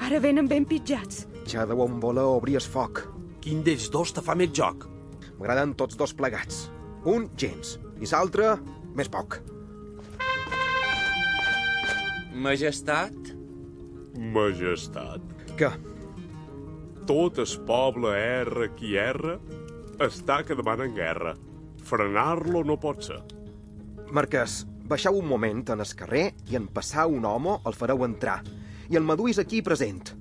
E: Ara venen ben pitjats.
D: Ja deu on voler obrir el foc.
J: Quin d'ells dos te fa més joc?
D: M'agraden tots dos plegats. Un, gens. I l'altre, més poc.
B: Majestat,
F: Majestat,
D: Que,
F: tot es poble erra qui erra està que demanen guerra. Frenar-lo no pot ser.
D: Marquès, baixeu un moment en el carrer i en passar un home el fareu entrar. I el maduís aquí present.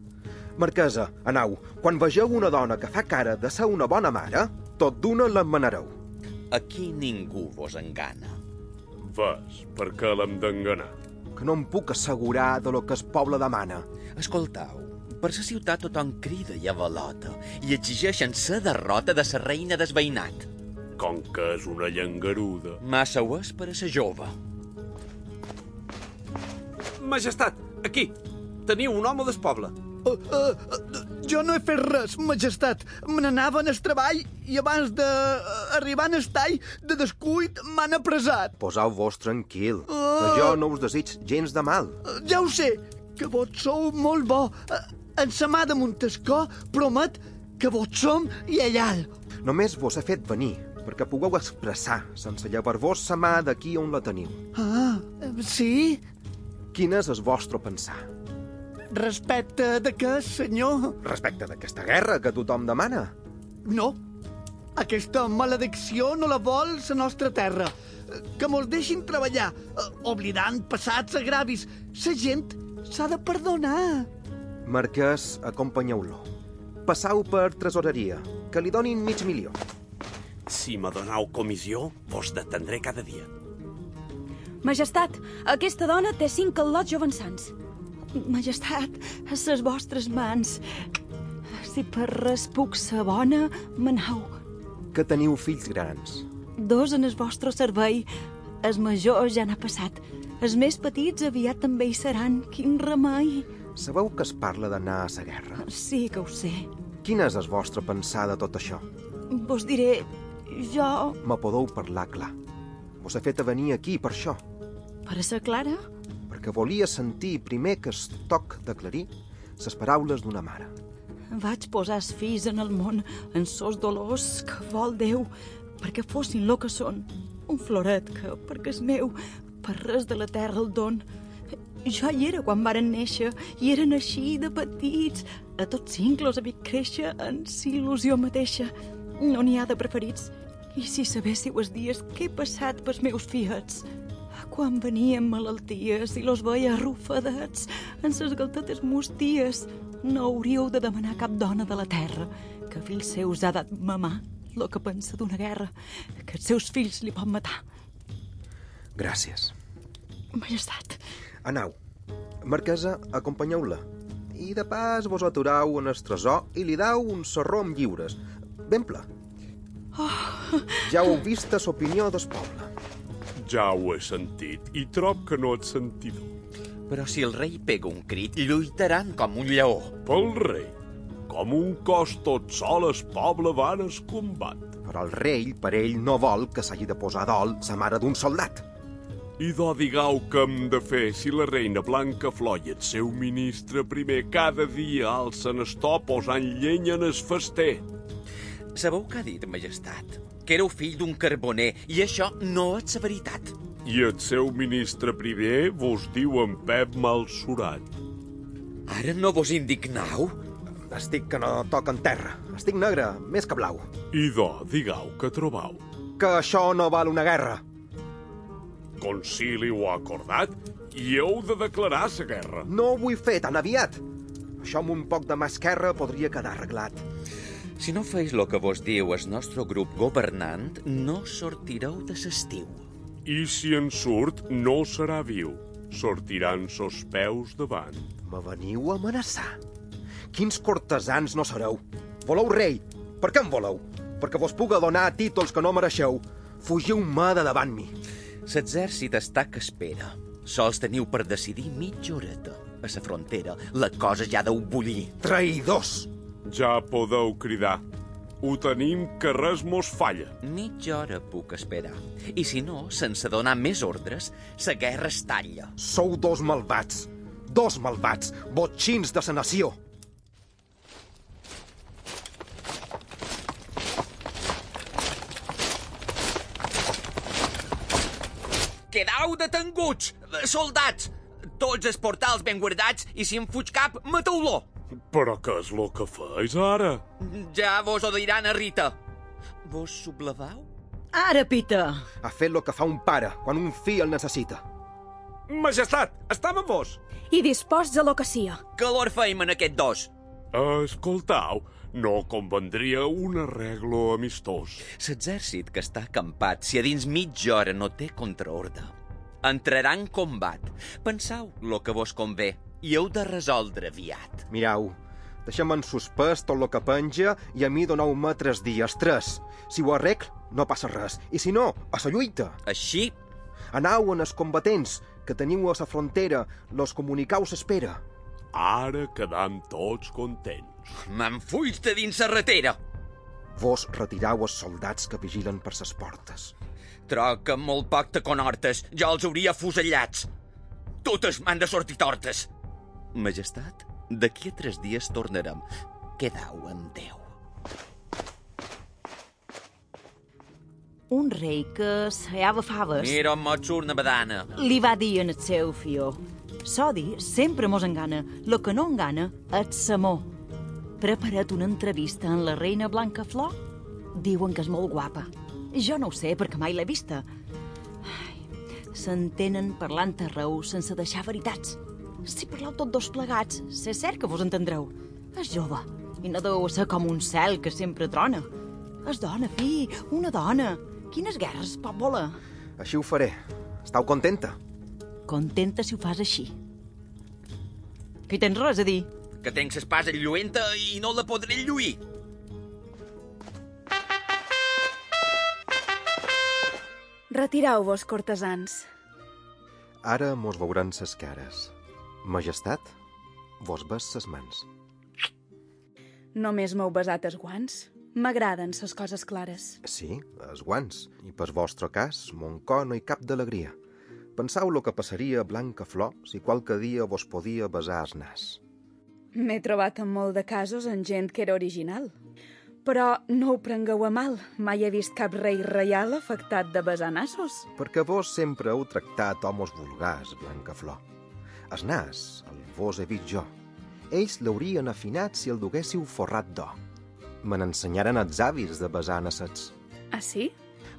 D: Marquesa, anau, quan vegeu una dona que fa cara de ser una bona mare, tot d'una l'emmanareu.
B: aquí ningú vos engana.
F: Ves, perquè l'hem d'enganar.
D: Que no em puc assegurar de lo que el poble demana.
B: Escoltau, per sa ciutat tothom crida i avalota i exigeixen sa derrota de sa reina desveïnat.
F: Com que és una llangaruda.
B: Massa ho és per a sa jove.
J: Majestat, aquí, teniu un home del poble.
A: Uh, uh, uh, jo no he fet res, majestat. Me n'anava en el treball i abans d'arribar en el tall de descuit m'han apresat.
D: Poseu-vos tranquil, que jo no us desig gens de mal.
A: Uh, ja ho sé, que vos sou molt bo. Uh, en sa mà de Montescó promet que vos som lleial.
D: Només vos he fet venir perquè pugueu expressar sense llevar-vos sa mà d'aquí on la teniu.
A: Ah, eh, sí?
D: Quin és el vostre pensar?
A: Respecte de què, senyor?
D: Respecte d'aquesta guerra que tothom demana.
A: No. Aquesta maledicció no la vol la nostra terra. Eh, Que mos deixin treballar, eh, oblidant passats agravis. La gent s'ha de perdonar.
D: Marquès, acompanyeu-lo. Passau per tresoreria, que li donin mig milió.
F: Si me donau comissió, vos detendré cada dia.
E: Majestat, aquesta dona té cinc al·lots jovençants.
C: Majestat, a ses vostres mans. Si per res puc ser bona, manau.
D: Que teniu fills grans.
C: Dos en el vostre servei. El major ja n'ha passat. Els més petits aviat també hi seran. Quin remei!
D: Sabeu que es parla d'anar a la guerra.
C: Sí que ho sé.
D: Quina és el vostre pensar de tot això?
C: Vos diré... Jo...
D: Me podeu parlar clar. Vos he fet a venir aquí per això,
C: Per a ser clara?
D: perquè volia sentir primer que es toc d'aclarir les paraules d'una mare.
C: Vaig posar els fills en el món, en sos dolors que vol Déu, perquè fossin lo que són. Un floret que, perquè és meu, per res de la terra el don. Jo hi era quan varen néixer, i eren així de petits. A tots cinc los havia créixer en si il·lusió mateixa. No n'hi ha de preferits. I si sabéssiu els dies que he passat pels meus fiats. Quan venien malalties i los veia arrufadets, en ses galtetes musties, no hauríeu de demanar cap dona de la terra que fills seus ha dat mamar lo que pensa d'una guerra, que els seus fills li pot matar.
D: Gràcies.
C: Majestat,
D: Anau, marquesa, acompanyeu-la. I de pas vos aturau en el tresor i li dau un serró amb lliures, ben ple. Oh. Ja heu vist l'opinió del poble.
G: Ja ho he sentit i trob que no et sentidor.
B: Però si el rei pega un crit, lluitaran com un lleó.
G: Pel rei, com un cos tot sol, es poble van es combat.
D: Però el rei, per ell, no vol que s'hagi de posar dol sa mare d'un soldat.
G: I do digau que hem de fer si la reina Blanca Flor i el seu ministre primer cada dia alcen estò posant llenya en es fester.
B: Sabeu què ha dit, majestat? Que éreu fill d'un carboner, i això no és la veritat.
G: I el seu ministre primer vos diu en Pep Malsurat.
B: Ara no vos indignau?
D: Estic que no toc en terra. Estic negre, més que blau.
G: I do digau que trobau.
D: Que això no val una guerra.
G: Concili ho ha acordat i heu de declarar la guerra.
D: No ho vull fer tan aviat. Això amb un poc de mà esquerra podria quedar arreglat.
B: Si no feis lo que vos diu el nostre grup governant, no sortireu de l'estiu.
G: I si en surt, no serà viu. Sortiran sos peus davant.
D: Me veniu a amenaçar? Quins cortesans no sereu? Voleu rei? Per què em voleu? Perquè vos puga donar títols que no mereixeu. Fugiu-me de davant mi.
B: L'exèrcit està que espera. Sols teniu per decidir mitja horeta. A la frontera, la cosa ja deu bullir.
D: Traïdors!
G: Ja podeu cridar. Ho tenim que res mos falla.
B: Mitja hora puc esperar. I si no, sense donar més ordres, la guerra es talla.
D: Sou dos malvats. Dos malvats. Botxins de sa nació.
B: Quedau detenguts, soldats! Tots els portals ben guardats i si en fuig cap, mateu-lo!
G: Però què és lo que feis ara?
B: Ja vos ho diran a Rita. Vos sublevau?
C: ara pita!
D: A fer lo que fa un pare quan un fill el necessita.
F: Majestat, estam amb vos!
E: I disposts a lo que sia.
B: Calor feim en aquest dos.
G: Escoltau, no convendria un arreglo amistós.
B: L'exèrcit que està acampat, si a dins mitja hora no té contraordre, entrarà en combat. Pensau lo que vos convé i heu de resoldre aviat.
D: Mirau, deixem en suspès tot lo que penja i a mi doneu-me tres dies, tres. Si ho arregl, no passa res. I si no, a la lluita.
B: Així,
D: Anau en els combatents que teniu a la frontera, los comunicau s'espera.
G: Ara quedam tots contents.
B: m'enfuig de dins serratera.
D: Vos retirau els soldats que vigilen per ses portes.
B: Troca molt poc te conortes, jo els hauria fusellats. Totes m'han de sortir tortes. Majestat, d'aquí a tres dies tornarem. Quedau amb Déu.
C: Un rei que seava faves
B: Mira on mos surt una badana.
C: li va dir en el seu fió Sodi sempre mos engana, lo que no engana et samó. Preparat una entrevista en la reina Blanca Flor? Diuen que és molt guapa. Jo no ho sé, perquè mai l'he vista. Ai, S'entenen parlant a raó sense deixar veritats. Si parleu tots dos plegats, sé cert que vos entendreu. És jove i no deu ser com un cel que sempre trona. És dona, fi, una dona. Quines guerres, pot voler?
D: Així ho faré. Estau contenta?
C: Contenta si ho fas així. Que hi tens res a dir?
I: Que tenc l'espasa lluenta i no la podré lluir.
E: Retirau-vos, cortesans.
D: Ara mos veuran ses cares. Majestat, vos ves ses mans.
E: Només m'heu besat els guants. M'agraden ses coses clares.
D: Sí, els guants. I per vostre cas, mon cor no hi cap d'alegria. Pensau lo que passaria, Blanca Flor, si qualque dia vos podia besar el nas.
E: M'he trobat en molt de casos en gent que era original. Però no ho prengueu a mal. Mai he vist cap rei reial afectat de besar nassos.
D: Perquè vos sempre heu tractat homes vulgars, Blanca Flor. El nas, el vos he vist jo. Ells l'haurien afinat si el duguéssiu forrat d'or. Me n'ensenyaren els avis de besar nassets.
E: Ah, sí?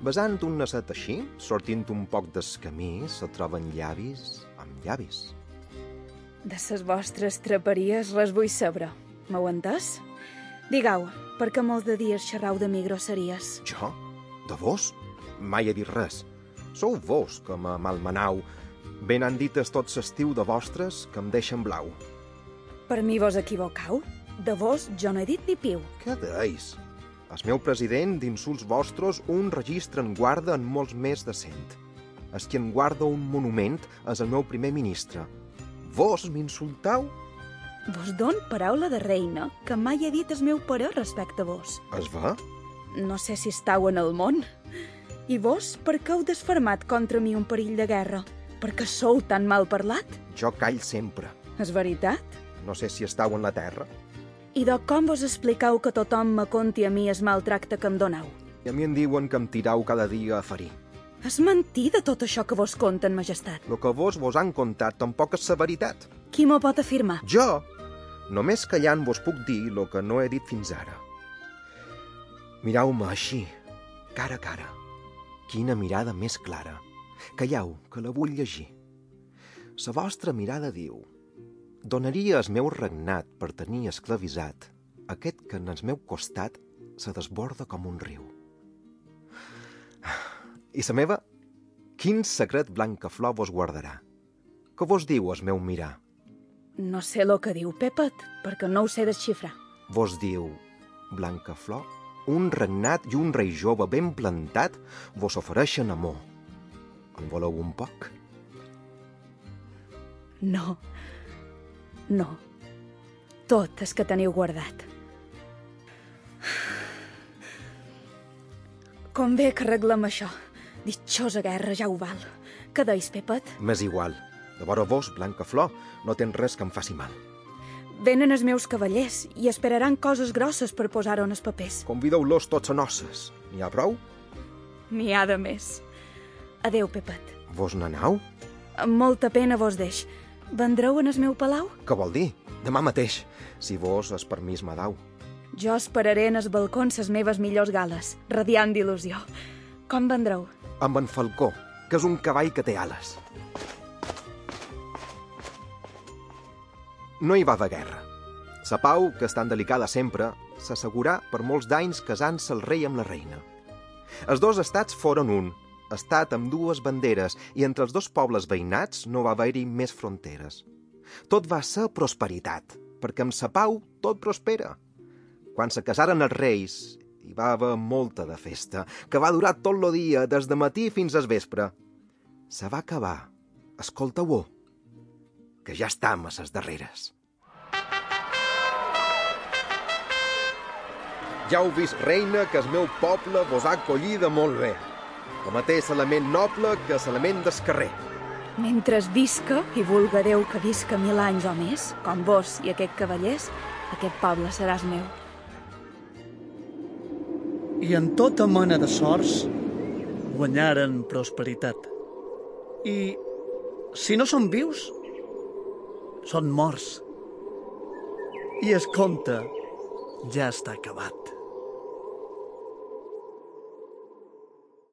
D: Besant un nasset així, sortint un poc des camí, se troben llavis amb llavis.
E: De ses vostres traperies res vull saber. M'heu entès? Digueu, per què molts de dies xerrau de mi grosseries?
D: Jo? De vos? Mai he dit res. Sou vos que me malmenau. Ben han dites tot l'estiu de vostres que em deixen blau.
E: Per mi vos equivocau? De vos jo no he dit ni piu.
D: Què deis? El meu president, d'insults vostres, un registre en guarda en molts més de cent. Es qui en guarda un monument és el meu primer ministre. Vos m'insultau?
E: Vos don paraula de reina que mai he dit el meu parer respecte a vos.
D: Es va?
E: No sé si estau en el món. I vos, per què heu desfermat contra mi un perill de guerra? Per què sou tan mal parlat?
D: Jo call sempre.
E: És veritat?
D: No sé si estau en la terra.
E: I de com vos expliqueu que tothom me conti a mi es maltracte que em donau?
D: I a mi em diuen que em tirau cada dia a ferir.
E: És mentida tot això que vos conten, majestat.
D: Lo que vos vos han contat tampoc és la veritat.
E: Qui m'ho pot afirmar?
D: Jo, només callant vos puc dir lo que no he dit fins ara. Mirau-me així, cara a cara. Quina mirada més clara. Callau, que la vull llegir. La vostra mirada diu... Donaria el meu regnat per tenir esclavitzat aquest que en el meu costat se desborda com un riu. I la meva? Quin secret blanca flor vos guardarà? Què vos diu el meu mirar?
E: No sé lo que diu Pepet, perquè no ho sé desxifrar.
D: vos diu Blanca Flor, un regnat i un rei jove ben plantat vos ofereixen amor. En voleu un poc?
E: No. No. Tot és que teniu guardat. Convé que arreglem això. Ditxosa guerra, ja ho val. Que deis, Pepet?
D: M'és igual. De vora vos, Blanca Flor, no tens res que em faci mal.
E: Venen els meus cavallers i esperaran coses grosses per posar-ho en els papers.
D: Convideu-los tots a noces. N'hi ha prou?
E: N'hi ha de més. Adeu, Pepet.
D: Vos n'anau?
E: Amb molta pena vos deix. Vendreu en el meu palau?
D: Què vol dir? Demà mateix, si vos es permís me dau.
E: Jo esperaré en els balcons les meves millors gales, radiant d'il·lusió. Com vendreu?
D: Amb en Falcó, que és un cavall que té ales. No hi va haver guerra. Sa pau, que és tan delicada sempre, s'assegurà per molts d'anys casant-se el rei amb la reina. Els dos estats foren un, estat amb dues banderes, i entre els dos pobles veïnats no va haver-hi més fronteres. Tot va ser prosperitat, perquè amb sa pau tot prospera. Quan se casaren els reis, hi va haver molta de festa, que va durar tot el dia, des de matí fins al vespre. Se va acabar. Escolta-ho, que ja estam a ses darreres. Ja heu vist, reina, que el meu poble vos ha acollida molt bé. El mateix element noble que l'element del carrer.
E: Mentre es visca, i vulga Déu que visca mil anys o més, com vos i aquest cavallers, aquest poble seràs meu.
A: i en tota mena de sorts guanyaren prosperitat. I si no són vius, són morts. I es compte, ja està acabat.